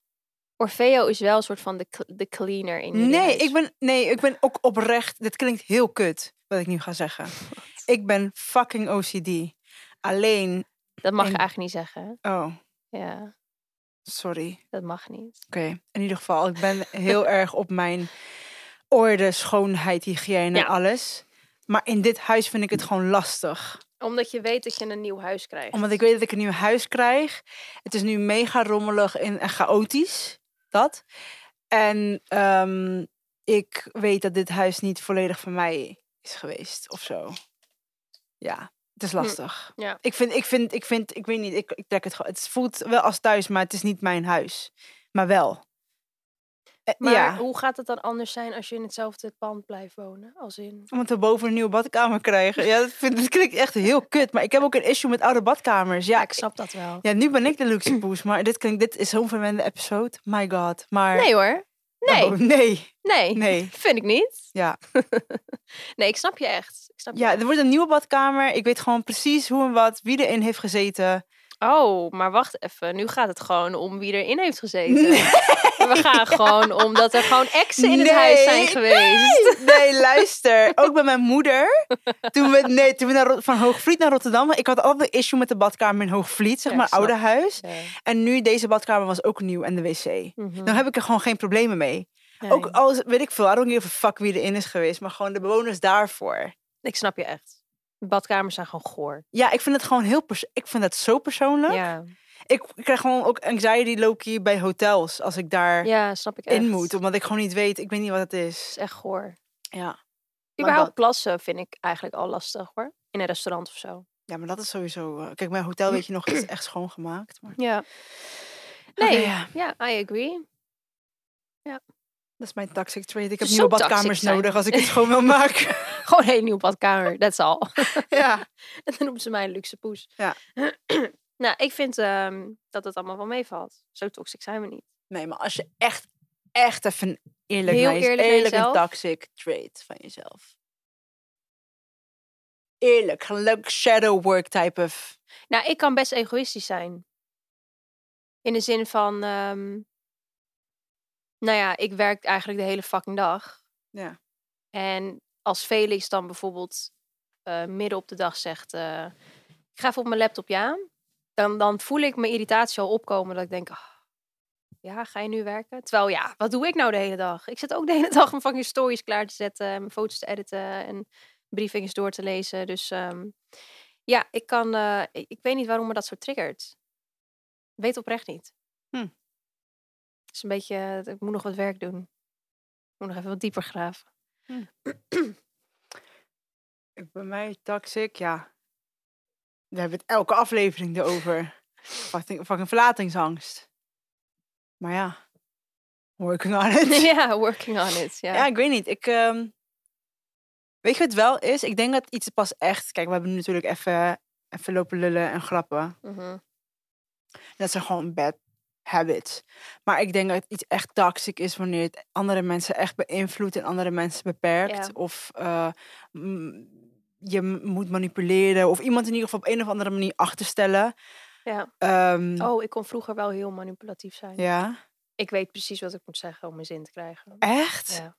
Speaker 2: Orfeo is wel een soort van de, cl- de cleaner in jullie
Speaker 1: Nee,
Speaker 2: huis.
Speaker 1: ik ben, nee, ik ben ook oprecht. Dit klinkt heel kut wat ik nu ga zeggen. Ik ben fucking OCD. Alleen.
Speaker 2: Dat mag je
Speaker 1: en-
Speaker 2: eigenlijk niet zeggen.
Speaker 1: Oh,
Speaker 2: Ja,
Speaker 1: sorry.
Speaker 2: dat mag niet.
Speaker 1: Oké. In ieder geval, ik ben heel erg op mijn orde, schoonheid, hygiëne,
Speaker 2: Ja.
Speaker 1: alles. Maar in dit huis vind ik het gewoon lastig.
Speaker 2: Omdat je weet dat je een nieuw huis krijgt.
Speaker 1: Omdat ik weet dat ik een nieuw huis krijg. Het is nu mega rommelig en, en chaotisch. Dat. En ehm, ik weet dat dit huis niet volledig van mij is geweest of zo. Ja, het is lastig.
Speaker 2: Hm, ja.
Speaker 1: Ik vind, ik vind, ik vind, ik weet niet, ik, ik trek het gewoon. Het voelt wel als thuis, maar het is niet mijn huis. Maar wel. Eh,
Speaker 2: Maar
Speaker 1: ja,
Speaker 2: hoe gaat het dan anders zijn als je in hetzelfde pand blijft wonen? Als in...
Speaker 1: omdat we boven een nieuwe badkamer krijgen. Ja, dat, vind, dat klinkt echt heel kut. Maar ik heb ook een issue met oude badkamers. Ja,
Speaker 2: Ja, ik snap dat wel.
Speaker 1: Ja, nu ben ik de luxe poes, maar dit, klinkt, dit is zo'n verwende episode. My god. Maar
Speaker 2: Nee hoor. Nee,
Speaker 1: Oh, nee,
Speaker 2: nee.
Speaker 1: nee.
Speaker 2: Vind ik niet.
Speaker 1: Ja.
Speaker 2: Nee, ik snap je echt. Ik snap je
Speaker 1: ja,
Speaker 2: echt.
Speaker 1: er wordt een nieuwe badkamer. Ik weet gewoon precies hoe en wat, wie erin heeft gezeten.
Speaker 2: Oh, maar wacht even. Nu gaat het gewoon om wie erin heeft gezeten. We gaan gewoon omdat er gewoon exen in het huis zijn
Speaker 1: Nee,
Speaker 2: geweest.
Speaker 1: Nee, luister. Ook bij mijn moeder. Toen we, nee, toen we naar, Rot- van Hoogvliet naar Rotterdam. Ik had altijd een issue met de badkamer in Hoogvliet, zeg
Speaker 2: Ja,
Speaker 1: maar,
Speaker 2: ik snap.
Speaker 1: oude huis.
Speaker 2: Ja.
Speaker 1: En nu, deze badkamer was ook nieuw en de wc.
Speaker 2: Mhm.
Speaker 1: Dan heb ik er gewoon geen problemen mee.
Speaker 2: Nee,
Speaker 1: Ook al is- weet ik veel, I don't give a fuck wie erin is geweest, maar gewoon de bewoners daarvoor.
Speaker 2: Ik snap je echt. Badkamers zijn gewoon goor.
Speaker 1: Ja, ik vind het gewoon heel pers ik vind dat zo persoonlijk.
Speaker 2: Ja,
Speaker 1: Ik krijg gewoon ook anxiety Loki bij hotels als ik daar
Speaker 2: ja snap ik echt.
Speaker 1: in moet, omdat ik gewoon niet weet, ik weet niet wat het
Speaker 2: Het
Speaker 1: is.
Speaker 2: is echt goor.
Speaker 1: Ja.
Speaker 2: Überhaupt
Speaker 1: dat-
Speaker 2: plassen vind ik eigenlijk al lastig hoor. In een restaurant of zo.
Speaker 1: Ja, maar dat is sowieso. eh, kijk, mijn hotel weet je nog is echt schoongemaakt, maar
Speaker 2: Ja. Nee,
Speaker 1: Oké,
Speaker 2: ja.
Speaker 1: Oh, ja.
Speaker 2: I agree.
Speaker 1: dat is mijn toxic trait. Ik heb
Speaker 2: Zo
Speaker 1: nieuwe
Speaker 2: toxic
Speaker 1: badkamers
Speaker 2: zijn.
Speaker 1: nodig als ik het schoon wil maken.
Speaker 2: Gewoon een hele nieuwe badkamer, that's all.
Speaker 1: ja.
Speaker 2: En dan noemen ze mij een luxe poes.
Speaker 1: Ja.
Speaker 2: nou, ik vind ehm, dat het allemaal wel meevalt. Zo toxic zijn we niet.
Speaker 1: Nee, maar als je echt echt even eerlijk
Speaker 2: Heel
Speaker 1: naar jez-
Speaker 2: eerlijk naar
Speaker 1: eerlijk een
Speaker 2: jezelf.
Speaker 1: toxic trait van jezelf. Eerlijk, leuk shadow work type of.
Speaker 2: Nou, ik kan best egoïstisch zijn. In de zin van, ehm, nou ja, ik werk eigenlijk de hele fucking dag.
Speaker 1: Ja.
Speaker 2: En als Felix dan bijvoorbeeld eh, midden op de dag zegt, eh, ik ga even op mijn laptop, ja. Dan, dan voel ik mijn irritatie al opkomen dat ik denk, "Ah, ja, ga je nu werken? Terwijl ja, wat doe ik nou de hele dag? Ik zit ook de hele dag mijn fucking stories klaar te zetten, en mijn foto's te editen en briefings door te lezen. Dus ehm, Ja, ik kan. eh, ik ik weet niet waarom me dat zo triggert. Ik weet oprecht niet.
Speaker 1: Hm.
Speaker 2: Het is een beetje. eh, Ik moet nog wat werk doen. Ik moet nog even wat dieper graven.
Speaker 1: Ik- Bij mij toxic, ja. We hebben het elke aflevering erover. Fucking, fucking verlatingsangst. Maar ja, working on it.
Speaker 2: ja, working on it. Ja.
Speaker 1: nou Ja, ik weet niet. Ik, ehm, weet je wat het wel is? Ik denk dat iets pas echt... Kijk, we hebben natuurlijk even, even lopen lullen en grappen.
Speaker 2: Mhm.
Speaker 1: Dat zijn gewoon bad habits. Maar ik denk dat iets echt toxic is wanneer het andere mensen echt beïnvloedt en andere mensen beperkt.
Speaker 2: Ja.
Speaker 1: Of eh, m- je m- moet manipuleren. Of iemand in ieder geval op een of andere manier achterstellen.
Speaker 2: Ja.
Speaker 1: Ehm,
Speaker 2: Oh, ik kon vroeger wel heel manipulatief zijn.
Speaker 1: Ja.
Speaker 2: Ik weet precies wat ik moet zeggen om mijn zin te krijgen.
Speaker 1: Echt?
Speaker 2: Ja.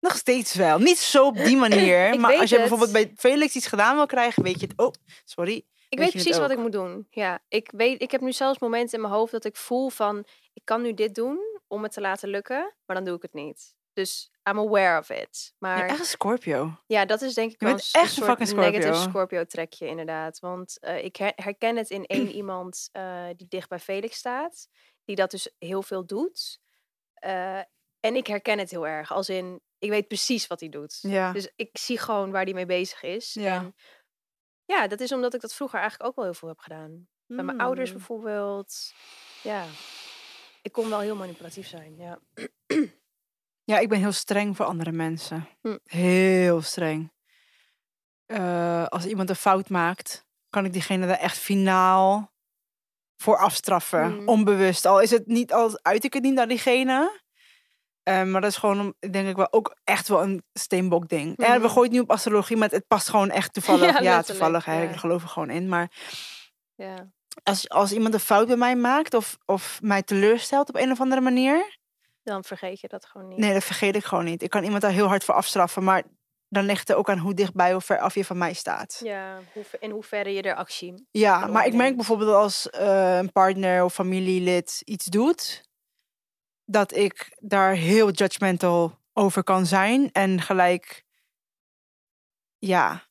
Speaker 1: Nog steeds wel. Niet zo op die manier.
Speaker 2: Ik
Speaker 1: maar
Speaker 2: weet
Speaker 1: als je
Speaker 2: het.
Speaker 1: bijvoorbeeld bij Felix iets gedaan wil krijgen, weet je het. Oh, sorry.
Speaker 2: Ik weet
Speaker 1: Weet je het
Speaker 2: precies wat
Speaker 1: ook?
Speaker 2: ik moet doen. Ja, ik, weet, ik heb nu zelfs momenten in mijn hoofd dat ik voel van... ik kan nu dit doen om het te laten lukken, maar dan doe ik het niet. Dus I'm aware of it.
Speaker 1: Je
Speaker 2: Maar
Speaker 1: bent echt een Scorpio.
Speaker 2: ja, dat is denk ik
Speaker 1: Je
Speaker 2: wel
Speaker 1: bent
Speaker 2: een s-
Speaker 1: echt
Speaker 2: een
Speaker 1: een
Speaker 2: soort
Speaker 1: fucking
Speaker 2: negative
Speaker 1: Scorpio.
Speaker 2: Scorpio-trekje inderdaad. Want eh, ik her- herken het in één iemand eh, die dicht bij Felix staat. Die dat dus heel veel doet. Eh, en ik herken het heel erg. Als in, ik weet precies wat hij doet.
Speaker 1: Ja.
Speaker 2: Dus ik zie gewoon waar hij mee bezig is.
Speaker 1: Ja.
Speaker 2: En ja, dat is omdat ik dat vroeger eigenlijk ook wel heel veel heb gedaan. Bij mijn ouders
Speaker 1: Mm.
Speaker 2: bijvoorbeeld. Ja. Ik kon wel heel manipulatief zijn. Ja.
Speaker 1: Ja, ik ben heel streng voor andere mensen.
Speaker 2: Hm.
Speaker 1: Heel streng. Eh, als iemand een fout maakt, kan ik diegene daar echt finaal voor afstraffen.
Speaker 2: Hm.
Speaker 1: Onbewust. Al is het niet, al uit ik het niet naar diegene. Eh, maar dat is gewoon, om- denk ik wel, ook echt wel een steenbok ding. En we
Speaker 2: Mhm.
Speaker 1: gooien het nu op astrologie, maar het past gewoon echt toevallig.
Speaker 2: Ja,
Speaker 1: Ja,
Speaker 2: letterlijk,
Speaker 1: toevallig. Hè. Ik
Speaker 2: ja.
Speaker 1: geloof er gewoon in. Maar
Speaker 2: ja.
Speaker 1: als, als iemand een fout bij mij maakt of, of mij teleurstelt op een of andere manier,
Speaker 2: Dan vergeet je dat gewoon niet.
Speaker 1: Nee, dat vergeet ik gewoon niet. Ik kan iemand daar heel hard voor afstraffen, maar dan ligt er ook aan hoe dichtbij of ver af je van mij staat. Ja,
Speaker 2: Ja, hoe, in hoeverre je er actie. kan
Speaker 1: maar ik merk
Speaker 2: opnemen.
Speaker 1: bijvoorbeeld als eh, een partner of familielid iets doet, dat ik daar heel judgmental over kan zijn en gelijk, ja.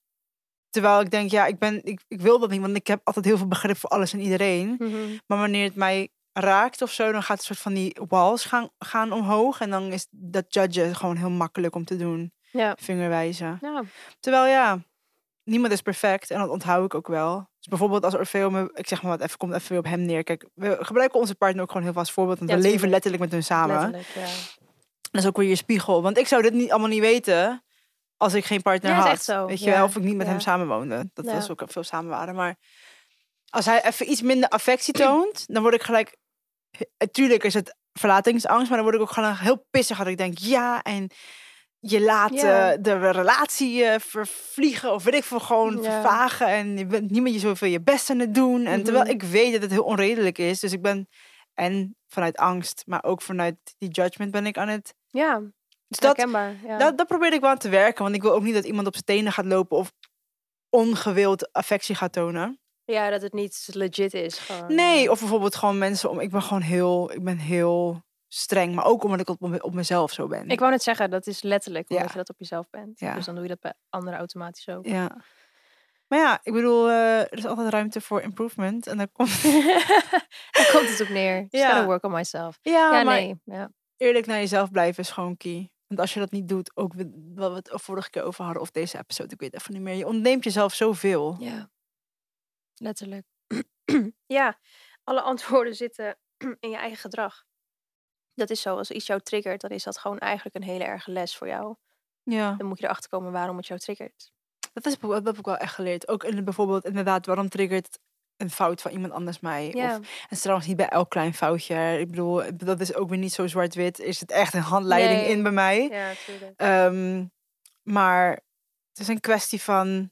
Speaker 1: Terwijl ik denk, ja, ik, ben, ik, ik wil dat niet, want ik heb altijd heel veel begrip voor alles en iedereen.
Speaker 2: Hm. Mhm.
Speaker 1: Maar wanneer het mij raakt of zo, dan gaat een soort van die walls gaan, gaan omhoog. En dan is dat judgen gewoon heel makkelijk om te doen.
Speaker 2: Ja. Nou,
Speaker 1: Vingerwijzen.
Speaker 2: Ja.
Speaker 1: Terwijl ja, niemand is perfect. En dat onthoud ik ook wel. Dus bijvoorbeeld als Orfeo me, ik zeg maar wat, even komt even weer op hem neer. Kijk, we gebruiken onze partner ook gewoon heel vast voorbeeld. Want
Speaker 2: Ja,
Speaker 1: we leven
Speaker 2: tuurlijk.
Speaker 1: letterlijk met hun samen.
Speaker 2: Letterlijk, ja.
Speaker 1: Dat is ook weer je spiegel. Want ik zou dit niet allemaal niet weten als ik geen partner
Speaker 2: Ja, is
Speaker 1: had.
Speaker 2: echt zo.
Speaker 1: Weet je
Speaker 2: Ja,
Speaker 1: wel, of ik niet met
Speaker 2: ja.
Speaker 1: hem samen woonde. Dat
Speaker 2: Ja.
Speaker 1: was ook veel samen waren. Maar als hij even iets minder affectie toont, dan word ik gelijk. Natuurlijk is het verlatingsangst, maar dan word ik ook gewoon heel pissig. Dat ik denk, ja, en je laat
Speaker 2: Ja.
Speaker 1: eh, de relatie eh, vervliegen of weet ik veel,
Speaker 2: Ja.
Speaker 1: gewoon vervagen. En je bent niet meer zoveel je best aan het doen. En terwijl
Speaker 2: Mhm.
Speaker 1: ik weet dat het heel onredelijk is, dus ik ben en vanuit angst, maar ook vanuit die judgment ben ik aan het
Speaker 2: Ja,
Speaker 1: dus dat,
Speaker 2: herkenbaar. Ja.
Speaker 1: dat, dat probeer ik wel aan te werken. Want ik wil ook niet dat iemand op zijn tenen gaat lopen of ongewild affectie gaat tonen.
Speaker 2: ja, dat het niet legit is. Gewoon. eh.
Speaker 1: Nee, of bijvoorbeeld gewoon mensen om. Ik ben gewoon heel, ik ben heel streng. Maar ook omdat ik op, me- op mezelf zo ben.
Speaker 2: Ik wou net zeggen, dat is letterlijk omdat
Speaker 1: Ja.
Speaker 2: je dat op jezelf bent.
Speaker 1: Ja.
Speaker 2: Dus dan doe je dat bij anderen automatisch ook.
Speaker 1: Ja. Maar ja, ik bedoel, eh, er is altijd ruimte voor improvement. En dan komt.
Speaker 2: Daar komt het op neer. Just
Speaker 1: Ja.
Speaker 2: gotta work on myself.
Speaker 1: Ja,
Speaker 2: ja,
Speaker 1: maar
Speaker 2: nee. Ja.
Speaker 1: eerlijk naar jezelf blijven is gewoon key. Want als je dat niet doet, ook wat wat we het vorige keer over hadden, of deze episode, ik weet het even niet meer. Je ontneemt jezelf zoveel.
Speaker 2: ja. Letterlijk. ja, alle antwoorden zitten in je eigen gedrag. Dat is zo. Als iets jou triggert, dan is dat gewoon eigenlijk een hele erge les voor jou.
Speaker 1: Ja.
Speaker 2: Dan moet je erachter komen waarom het jou triggert.
Speaker 1: Dat, is, dat heb ik wel echt geleerd. Ook in, bijvoorbeeld, inderdaad, waarom triggert een fout van iemand anders mij?
Speaker 2: Ja.
Speaker 1: Of, en het is trouwens niet bij elk klein foutje. hè. Ik bedoel, dat is ook weer niet zo zwart-wit. Is het echt een handleiding
Speaker 2: Nee.
Speaker 1: in bij mij?
Speaker 2: Ja, tuurlijk.
Speaker 1: Ehm, maar het is een kwestie van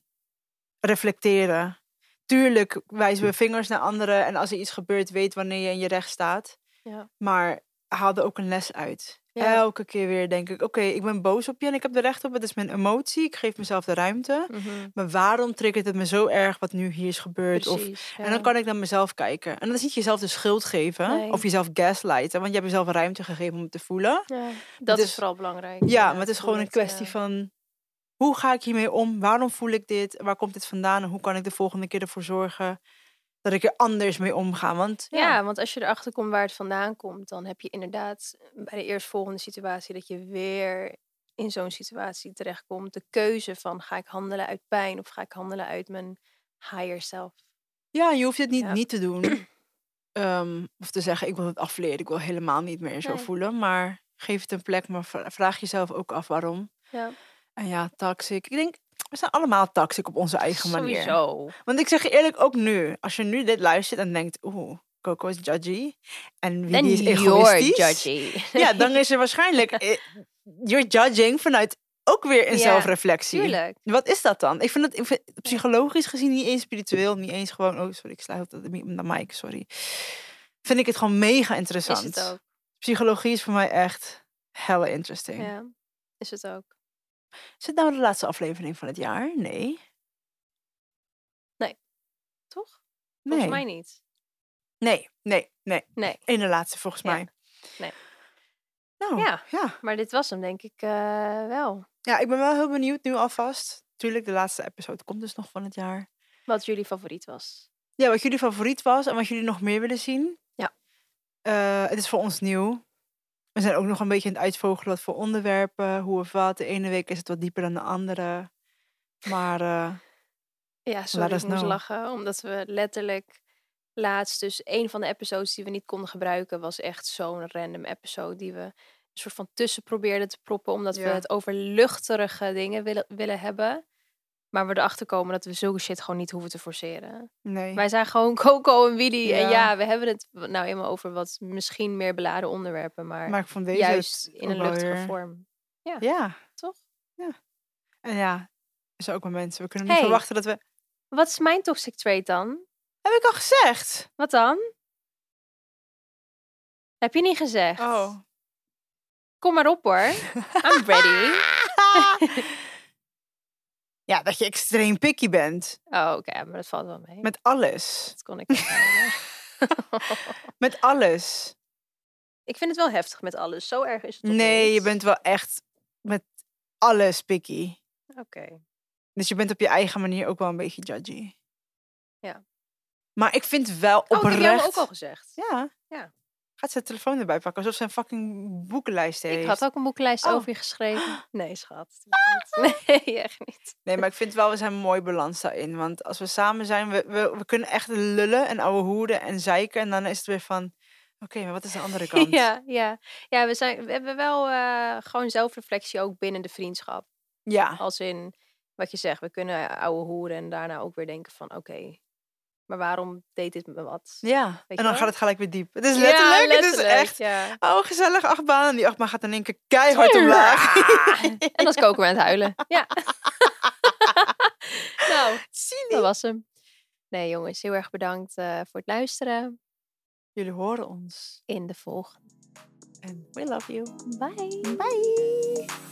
Speaker 1: reflecteren. Tuurlijk wijzen we vingers naar anderen. En als er iets gebeurt, weet wanneer je in je recht staat.
Speaker 2: Ja.
Speaker 1: Maar haal er ook een les uit.
Speaker 2: Ja.
Speaker 1: Elke keer weer denk ik, oké, ik ben boos op je en ik heb er recht op. Het is mijn emotie. Ik geef mezelf de ruimte.
Speaker 2: Mhm.
Speaker 1: Maar waarom triggert het me zo erg wat nu hier is gebeurd? Of,
Speaker 2: Precies.
Speaker 1: en
Speaker 2: ja.
Speaker 1: dan kan ik naar mezelf kijken. En dat is niet jezelf de schuld geven
Speaker 2: Nee.
Speaker 1: of jezelf gaslighten, want je hebt jezelf ruimte gegeven om het te voelen.
Speaker 2: Ja, dat
Speaker 1: Dus-
Speaker 2: is vooral belangrijk.
Speaker 1: Ja,
Speaker 2: inderdaad,
Speaker 1: maar het is
Speaker 2: hoe
Speaker 1: gewoon een
Speaker 2: dat, eh,
Speaker 1: kwestie
Speaker 2: ja.
Speaker 1: van Hoe ga ik hiermee om? Waarom voel ik dit? Waar komt dit vandaan? En hoe kan ik de volgende keer ervoor zorgen dat ik er anders mee omga? Want
Speaker 2: Ja. want als je erachter komt waar het vandaan komt, dan heb je inderdaad bij de eerstvolgende situatie dat je weer in zo'n situatie terechtkomt. De keuze van ga ik handelen uit pijn of ga ik handelen uit mijn higher self.
Speaker 1: Ja, je hoeft het niet
Speaker 2: Ja.
Speaker 1: niet te doen. Ehm, of te zeggen, ik wil het afleren. Ik wil helemaal niet meer zo
Speaker 2: Nee.
Speaker 1: voelen. Maar geef het een plek. Maar vra- vraag jezelf ook af waarom.
Speaker 2: Ja.
Speaker 1: En Ah ja, toxic. Ik denk, we zijn allemaal toxic op onze eigen manier.
Speaker 2: Sowieso.
Speaker 1: Want ik zeg je eerlijk, ook nu. Als je nu dit luistert en denkt, oeh, Coco is judgy. En wie
Speaker 2: Then
Speaker 1: is
Speaker 2: you're
Speaker 1: egoïstisch.
Speaker 2: judgy.
Speaker 1: Ja, dan is er waarschijnlijk... eh, You're judging vanuit ook weer een
Speaker 2: Ja,
Speaker 1: zelfreflectie.
Speaker 2: Tuurlijk.
Speaker 1: Wat is dat dan? Ik vind het ik vind het psychologisch gezien niet eens spiritueel, niet eens gewoon. Oh, sorry, ik sluit op de, mi- op de mic, sorry. Vind ik het gewoon mega
Speaker 2: Is
Speaker 1: interessant.
Speaker 2: het ook.
Speaker 1: Psychologie is voor mij echt hella interesting.
Speaker 2: Ja. Is het ook.
Speaker 1: Is het nou de laatste aflevering van het jaar? Nee.
Speaker 2: Toch?
Speaker 1: Nee.
Speaker 2: Volgens mij niet.
Speaker 1: Nee, nee, nee.
Speaker 2: Nee.
Speaker 1: In de laatste, volgens
Speaker 2: Ja.
Speaker 1: mij.
Speaker 2: Nee.
Speaker 1: Nou,
Speaker 2: Ja.
Speaker 1: ja. ja.
Speaker 2: Maar dit was hem denk ik eh, wel.
Speaker 1: ik ben wel heel benieuwd nu alvast. Tuurlijk, de laatste episode komt dus nog van het jaar.
Speaker 2: Wat jullie favoriet was.
Speaker 1: Ja, wat jullie favoriet was en wat jullie nog meer willen zien.
Speaker 2: Ja.
Speaker 1: Eh, het is voor ons nieuw. We zijn ook nog een beetje aan het uitvogelen wat voor onderwerpen, hoe of wat. De ene week is het wat dieper dan de andere. Maar eh,
Speaker 2: Ja, sorry,
Speaker 1: us
Speaker 2: ik moest
Speaker 1: know.
Speaker 2: lachen. Omdat we letterlijk laatst, dus een van de episodes die we niet konden gebruiken, was echt zo'n random episode die we een soort van tussen probeerden te proppen. Omdat we
Speaker 1: Ja.
Speaker 2: het over luchterige dingen willen, willen hebben. Maar we erachter komen dat we zulke shit gewoon niet hoeven te forceren.
Speaker 1: nee.
Speaker 2: Wij zijn gewoon Coco en Willy. En
Speaker 1: Ja.
Speaker 2: ja, we hebben het nou eenmaal over wat misschien meer beladen onderwerpen. Maar,
Speaker 1: Maar ik vond deze
Speaker 2: juist
Speaker 1: het
Speaker 2: in een
Speaker 1: ook wel
Speaker 2: luchtige
Speaker 1: weer-
Speaker 2: vorm.
Speaker 1: Ja.
Speaker 2: Toch?
Speaker 1: Ja. En ja, zo ook maar mensen. We kunnen
Speaker 2: Hey.
Speaker 1: niet verwachten dat we...
Speaker 2: Wat is mijn toxic trait dan?
Speaker 1: Heb ik al gezegd?
Speaker 2: Wat dan? Heb je niet gezegd?
Speaker 1: Oh.
Speaker 2: Kom maar op hoor. I'm ready.
Speaker 1: ja, dat je extreem picky bent.
Speaker 2: Oh, oké, maar dat valt wel mee.
Speaker 1: Met alles.
Speaker 2: Dat kon ik. echt niet hoor.
Speaker 1: Met alles.
Speaker 2: ik vind het wel heftig met alles. Zo erg is het. toch
Speaker 1: Nee, je
Speaker 2: niet?
Speaker 1: bent wel echt met alles picky.
Speaker 2: Oké. Oh,
Speaker 1: Dus je bent op je eigen manier ook wel een beetje judgy.
Speaker 2: Ja.
Speaker 1: Maar ik vind wel
Speaker 2: Oh, ik heb jou
Speaker 1: oprecht...
Speaker 2: ook al gezegd.
Speaker 1: Ja.
Speaker 2: Ja.
Speaker 1: Gaat zijn telefoon erbij pakken, alsof ze een fucking boekenlijst heeft.
Speaker 2: Ik had ook een boekenlijst
Speaker 1: Oh.
Speaker 2: over je geschreven. Nee, schat. Nee, echt niet.
Speaker 1: Nee, maar ik vind wel, we zijn een mooi balans daarin. Want als we samen zijn, we, we, we kunnen echt lullen en ouwe hoeden en zeiken. En dan is het weer van, oké, maar wat is de andere kant?
Speaker 2: Ja, ja. ja we, zijn, we hebben wel eh, gewoon zelfreflectie ook binnen de vriendschap.
Speaker 1: Ja.
Speaker 2: Als in wat je zegt, we kunnen ouwe hoeren en daarna ook weer denken van oké, maar waarom deed dit me wat?
Speaker 1: Ja.
Speaker 2: je
Speaker 1: En dan
Speaker 2: wel?
Speaker 1: gaat het gelijk weer diep. Het is
Speaker 2: Ja,
Speaker 1: letterlijk, het is
Speaker 2: letterlijk,
Speaker 1: echt...
Speaker 2: ja.
Speaker 1: Oh, gezellig achtbaan. En die achtbaan gaat in één keer keihard omlaag.
Speaker 2: en dan is Coco weer aan het huilen. Ja. nou, dat
Speaker 1: Cynisch.
Speaker 2: was hem. Nee jongens, heel erg bedankt eh, voor het luisteren.
Speaker 1: Jullie horen ons.
Speaker 2: In de volgende.
Speaker 1: En we love you.
Speaker 2: Bye.
Speaker 1: Bye.